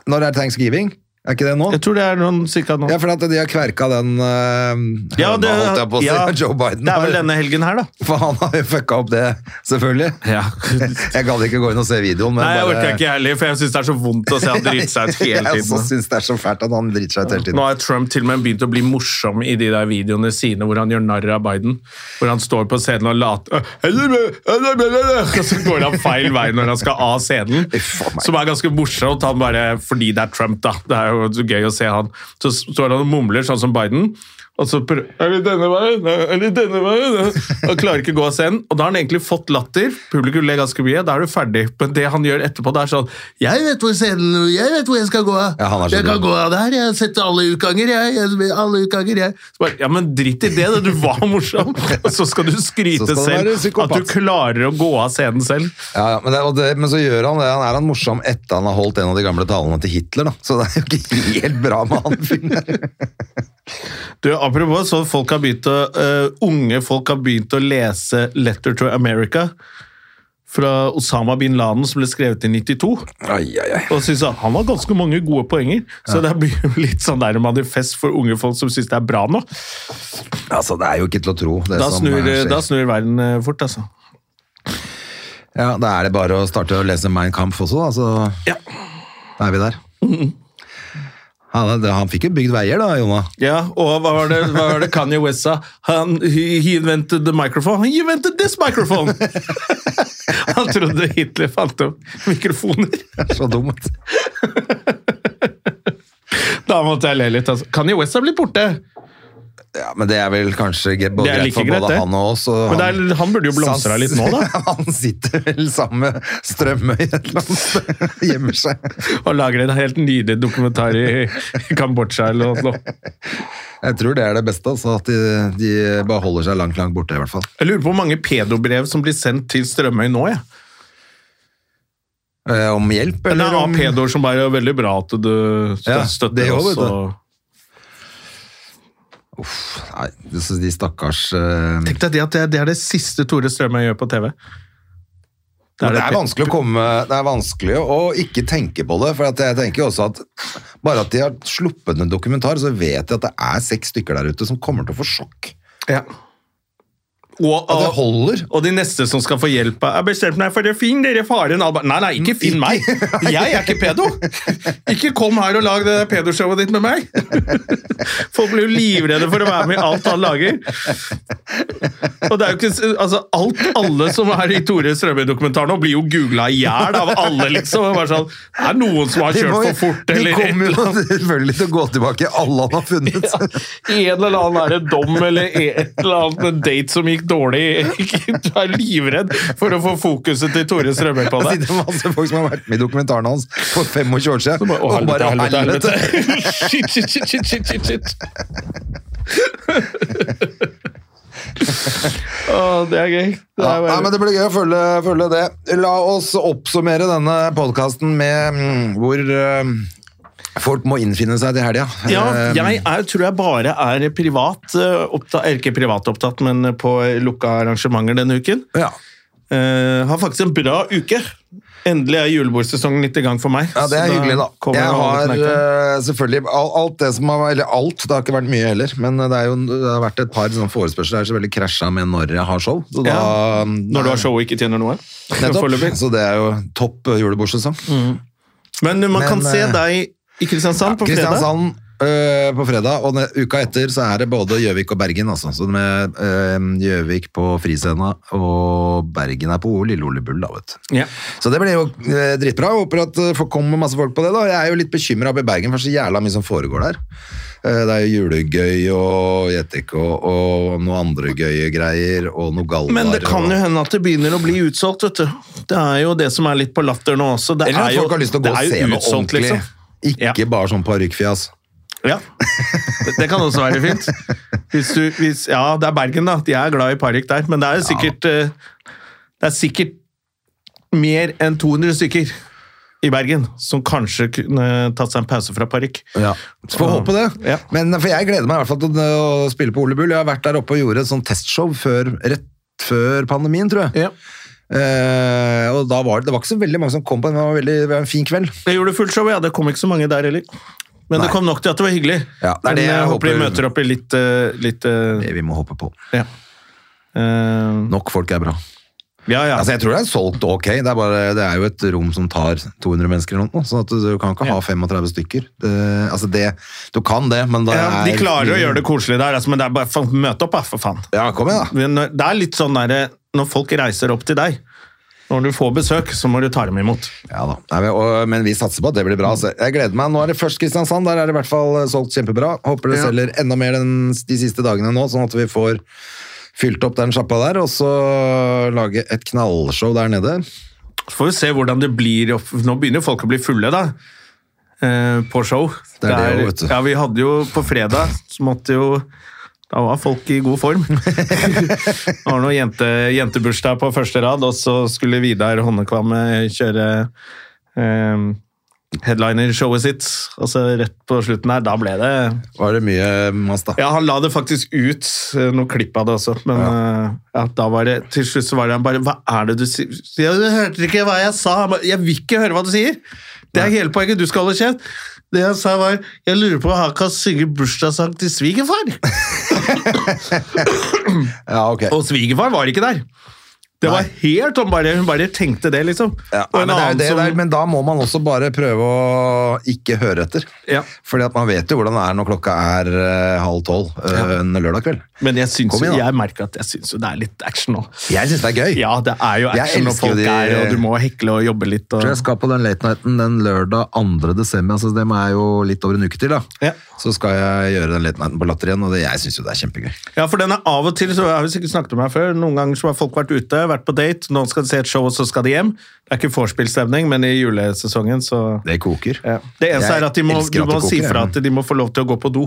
Når er thanksgiving? Er ikke det nå? tror det er noen cirka nå. Ja, for at de har kverka den uh, Ja, det, holdt jeg på å si. ja, Joe Biden. det er vel har- denne helgen her, da. For han har jo fucka opp det, selvfølgelig. Jeg gadd ikke gå inn og se videoen, men Nei, jeg orker bare ikke heller, for jeg syns det er så vondt å se han drite seg ut hele Jeg også tiden. syns det er så fælt at han driter seg ut hele tiden. Nå har Trump til og med begynt å bli morsom i de der videoene sine hvor han gjør narr av Biden. Hvor han står på scenen og later Øh, Og så går han feil vei når han skal av scenen. Uff, faen meg. Som er ganske morsomt han bare, fordi det er Trump, da. Det er jo så gøy å se han. Så står han og mumler sånn som Biden. Og så prøver Er det denne veien? Er det denne veien? Og klarer ikke å gå av scenen. Og da har han egentlig fått latter. Publikum ler ganske mye. Da er du ferdig. Men det han gjør etterpå, det er sånn Jeg vet hvor scenen Jeg vet hvor jeg skal gå av. Ja, han er så jeg kan dum. gå av der. Jeg har sett alle utganger, jeg. jeg alle utganger, jeg. Så bare, ja, men dritt i det. da. Du var morsom. Og så skal du skryte Så skal du selv være psykopat. at du klarer å gå av scenen selv. Ja, ja, men, det, og det, men så gjør han det. Han er han morsom etter han har holdt en av de gamle talene til Hitler, da. Så det er jo ikke helt bra med han fyren der. Du, apropos, så folk har begynt å, eh, unge folk har begynt å lese Letter to America fra Osama bin Laden, som ble skrevet i 92. Ai, ai, ai. Og synes at Han har ganske mange gode poenger, så det blir jo litt sånn der manifest for unge folk som syns det er bra nå. Altså, det er jo ikke til å tro, det Da som snur, eh, skjer. da snur verden eh, fort, altså. Ja, da er det bare å starte å lese Mein Kampf også, da. Så Ja. da er vi der. Mhm. Han, han fikk jo bygd veier, da, Jonna. Ja, og hva var det, hva var det Kanye West sa? Han, he, he invented the microphone. He invented this microphone! Han trodde Hitler fant opp mikrofoner. Så dumt. Da måtte jeg le litt. Altså. Kanye West har blitt borte. Ja, men det er vel kanskje ge- både Det er greit like for greit, både det. han og oss. Og Men det er, han burde jo blomstra litt nå, da. Han sitter vel sammen med Strømøy et eller annet sted. Gjemmer seg. Og lager en helt nydelig dokumentar i i Kambodsja eller noe sånt. Jeg tror det er det beste, altså, at de, de bare holder seg langt, langt borte, i hvert fall. Jeg lurer på hvor mange pedobrev som blir sendt til Strømøy nå, jeg. Eh, om hjelp, Det eller er om A-pedoer som bare er veldig bra at du Ja, støtter det jo, oss. vet du. Og... Nei, det- så de stakkars eh, Tenk deg det at det, det er det siste Tore Strømøy gjør på TV. Det er, det er vanskelig å komme Det er vanskelig å ikke tenke på det, for at jeg tenker jo også at bare at de har sluppet en dokumentar, så vet jeg at det er seks stykker der ute som kommer til å få sjokk. Ja. Og, At det og, holder. og de neste som skal få hjelp av Jeg bestemte meg for å finne dere faren Alba. Nei, nei, ikke finn meg! Jeg er ikke pedo! Ikke kom her og lag det der pedoshowet ditt med meg! Folk blir jo livredde for å være med i alt han lager. Og det er jo ikke, altså alt, Alle som er i Tore Strømøy-dokumentaren nå, blir jo googla i hjel av alle, liksom. Det er bare sånn, det er noen som har De kjørt må- for fort, de eller et kommer eller jo annet. selvfølgelig til å gå tilbake i alle han har funnet. Ja, en eller annen er det dom eller et eller annet en date som gikk dårlig. Du er livredd for å få fokuset til Tore Strømøy på Det deg. sitter masse folk som har vært med i dokumentaren hans for 25 år siden. Å, og bare helvete, helvete. Shit, shit, shit, shit, shit, shit, shit. Å, det er gøy. Det Ja, nei, er men bare... det blir gøy å følge, følge det. La oss oppsummere denne podkasten med mm, hvor eh, folk må innfinne seg til helga. Ja, Eh, jeg er, tror jeg bare er privat eh, opptatt, eller ikke privat opptatt, men på lukka arrangementer denne uken. ja. Eh, har faktisk en bra uke. Endelig er julebordsesongen litt i gang for meg. Ja, det så er hyggelig, da. kommer Jeg alle har knekkene. eh, selvfølgelig al- alt det som har Eller alt, det har ikke vært mye heller. Men det, er jo, det har vært et par sånne forespørsler der som veldig krasja med når jeg har show. Så da, Ja, Når du har show og ikke tjener noe? Nettopp. Foreløpig. Mm. Så det er jo topp eh, julebordsesong. Men man kan Men, se eh, deg i Kristiansand på fredag. Kristiansand øh, på fredag, og ne- uka etter så er det både Gjøvik og Bergen. Altså. Så med øh, Gjøvik på Friscena, og Bergen er på Lille Ole Bull, da, vet du. Ja. Så det blir jo øh, dritbra. Jeg håper at øh, folk kommer masse folk på det. da. Jeg er jo litt bekymra i Bergen, for så jævla mye som foregår der. Eh, Det er jo julegøy og gjettek og, og noe andre gøye greier, og noe galvar. Men det kan og- jo hende at det begynner å bli utsolgt, vet du. Det er jo det som er litt på latter nå også. Det Eller er at jo, folk har lyst til å det gå er og jo se noe utsolgt, ordentlig. liksom. Ikke Ja. bare sånn parykkfjas. Ja. Det kan også være fint. Hvis du, hvis, ja, det er Bergen, da. De er glad i parykk der. Men det er jo sikkert eh, Det er sikkert mer enn 200 stykker i Bergen som kanskje kunne tatt seg en pause fra parykk. Ja. Så får vi håpe det. Ja. Men for jeg gleder meg i hvert fall til å å spille på Ole Bull. Jeg har vært der oppe og gjorde et sånt testshow før, rett før pandemien, tror jeg. Ja. Eh, og da var det, det var ikke så veldig mange som kom på den, men det var, veldig, det var en fin kveld. Jeg gjorde fullt show, ja. Det kom ikke så mange der heller. Men Nei. det kom nok til at det var hyggelig. Ja, det er Men det jeg jeg, håper de håper- møter opp i litt, eh, litt eh, Det vi må håpe på. ja. Eh, Nok folk er bra. ja, ja. Altså, jeg tror det er solgt ok. Det er, bare, det er jo et rom som tar 200 mennesker eller noe, sånn at du kan ikke ha 35 stykker. Det, altså det, du kan det, men det ja, de er- klarer å gjøre det koselig der, altså, men det er bare faen, møte opp, da, for faen. Ja, kom igjen, da. Men når- Det er litt sånn der, når folk reiser opp til deg, når du får besøk, så må du ta dem imot. Ja da. Nei, men- og, men vi satser på at det blir bra. Så jeg gleder meg. Nå er det først Kristiansand. Der er det i hvert fall eh, solgt kjempebra. Håper det Ja. selger enda mer den, de siste dagene nå, sånn at vi får fylt opp den sjappa der, og så lage et knallshow der nede. Så får vi se hvordan det blir. opp- Nå begynner folk å bli fulle, da. eh, På show. Det er det jo, vet du. Ja, vi hadde jo på fredag, så måtte jo Da var folk i god form. det var noe jente, jentebursdag på første rad, og så skulle Vidar Honnekvamme kjøre eh, headliner-showet sitt. Og så rett på slutten her, da ble det Var det mye eh, mas, da? Ja, han la det faktisk ut, eh, noe klipp av det også, men eh, ja, da var det, til slutt så var det han bare, hva er det du sier? Ja, du hørte ikke hva jeg sa, Han bare, jeg vil ikke høre hva du sier. Det er hele poenget, du skal holde kjeft. Det han sa var, jeg lurer på, han kan synge bursdagssang til svigerfar. Ja, ok. Og svigerfar var ikke der. Det var helt, hun bare, hun bare tenkte det liksom. Ja, Og nei, men, en det er jo annen det som- der, men da må man også bare prøve å ikke høre etter. Ja. Fordi at man vet jo hvordan det er når klokka er eh, halv tolv eh, en lørdag kveld. Men jeg, synes, Kom jo- igjen, da. jeg merker at jeg synes jo det er litt action nå. Jeg syns det er gøy. Ja, det er jo Jeg action når elsker jo folk de- er, og du må hekle og jobbe litt. Og... tror jeg skal på den late nighten den lørdag 2. desember, altså det er jo litt over en uke til da. Ja. Så skal jeg gjøre den late nighten på latter igjen, og det, jeg synes jo det er kjempegøy. Ja, for den er av og til, så har vi sikkert snakket om her før, noen ganger så har folk vært ute, vært på date, nå skal de se et show, og så skal de hjem. Det er ikke vorspielstemning, men i julesesongen så Det koker. ja. Det eneste Jeg er at de må, elsker du at det må si koker, fra jeg. at de må få lov til å gå på do.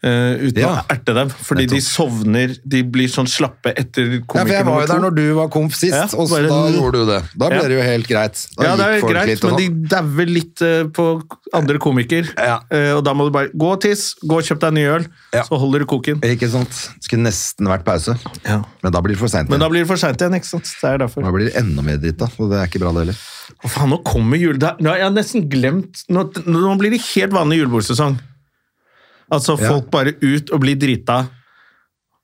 eh, uten Ja. å erte dem, fordi de sovner De blir sånn slappe etter Ja, for komiker jeg var jo der når du var komf sist, Ja, og så bare- da gjorde du det. Da ble Ja. det jo helt greit. Da Ja, det gikk er folk greit, litt og men de sånn. dauer litt eh, på andre komiker. Ja. Eh, og da må du bare gå og tiss, gå og kjøp deg en ny øl, Ja. så holder du koken. Ikke sant? Det skulle nesten vært pause. Ja. Men da blir det for sent. Men da igjen. blir det for seint igjen, ikke sant. Det er derfor. Da blir det enda mer dritt da, og det er ikke bra det heller. Å, faen, nå kommer jul... Da, nå, har jeg nesten glemt nå, nå blir det helt vanlig julebordsesong. Altså, Ja. folk bare ut og blir drita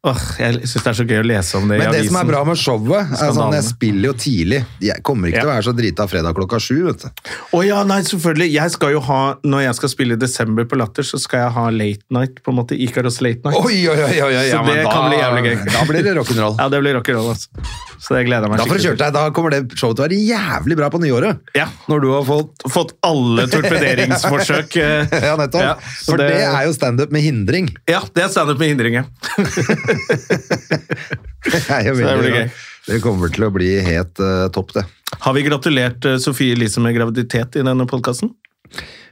Åh, jeg syns det er så gøy å lese om det i Men det avisen. som er bra med showet, er sånn, Skandalene. jeg spiller jo tidlig. Jeg kommer ikke til å Ja. være så drita fredag klokka sju. vet du. Å ja, nei, selvfølgelig. Jeg skal jo ha, når jeg skal spille i desember på Latter, så skal jeg ha Late Night, på en måte. Ikaros Late Night. Oi, oi, oi, oi, oi, ja, Så men det da- kan bli jævlig gøy. Da blir det rock'n'roll. Ja, det blir rock'n'roll, altså. Så det gleder jeg meg Da får du kjørt deg, da kommer det showet til å være jævlig bra på nyåret. Ja. Når du har fått Fått alle torpederingsforsøk. eh. Ja, nettopp. Ja, så For det... det er jo standup med hindring. Ja, det er standup med hindringer. Det, er jo Så det veldig blir bra. gøy. det kommer til å bli helt eh, topp, det. Har vi gratulert eh, Sofie Elise med graviditet i denne podkasten?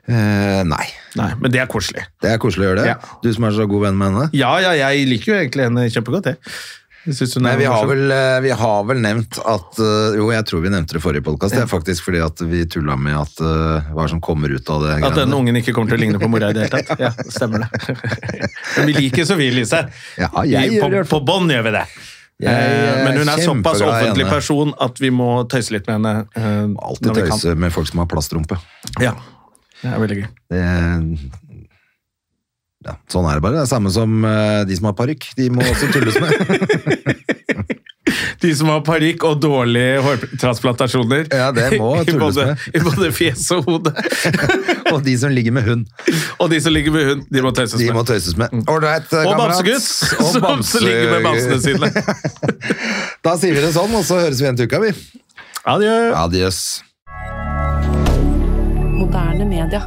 Eh, nei. Nei, men det er koselig. Det er koselig å gjøre det. Ja. Du som er så god venn med henne. Ja, ja, jeg liker jo egentlig henne kjempegodt, jeg. jeg. synes hun er Nei, vi, har morsom. vel, eh, vi har vel nevnt at eh, Jo, jeg tror vi nevnte det i forrige podkast. Det er faktisk fordi at vi tulla med at eh, hva som kommer ut av det. At greiene. denne ungen ikke kommer til å ligne på mora i det hele tatt. Ja, stemmer det. Men vi liker Sofie Elise. Ja, jeg Vi- gjør på, det i hvert på bånd gjør vi det. Jeg Eh, er Men hun er kjempeglad såpass i offentlig henne. person at vi må tøyse litt med henne. eh, når Alltid vi kan. tøyse med folk som har plastrumpe. Ja, det er veldig gøy. Det, ja, sånn er det bare. Det er samme som eh, de som har parykk. De må også tulles med. De som har parykk og dårlige hårtransplantasjoner. Ja, det må I tulles både, med. I både fjes og hode. Og de som ligger med hund. Og de som ligger med hund, de må tøyses De må med. tøyses med. Mm. Ålreit, Og kamerat. bamsegutt, Og som som ligger med bamsene sine. Da sier vi det sånn, og så høres vi igjen til uka, vi. Adjø. Adios. Moderne media.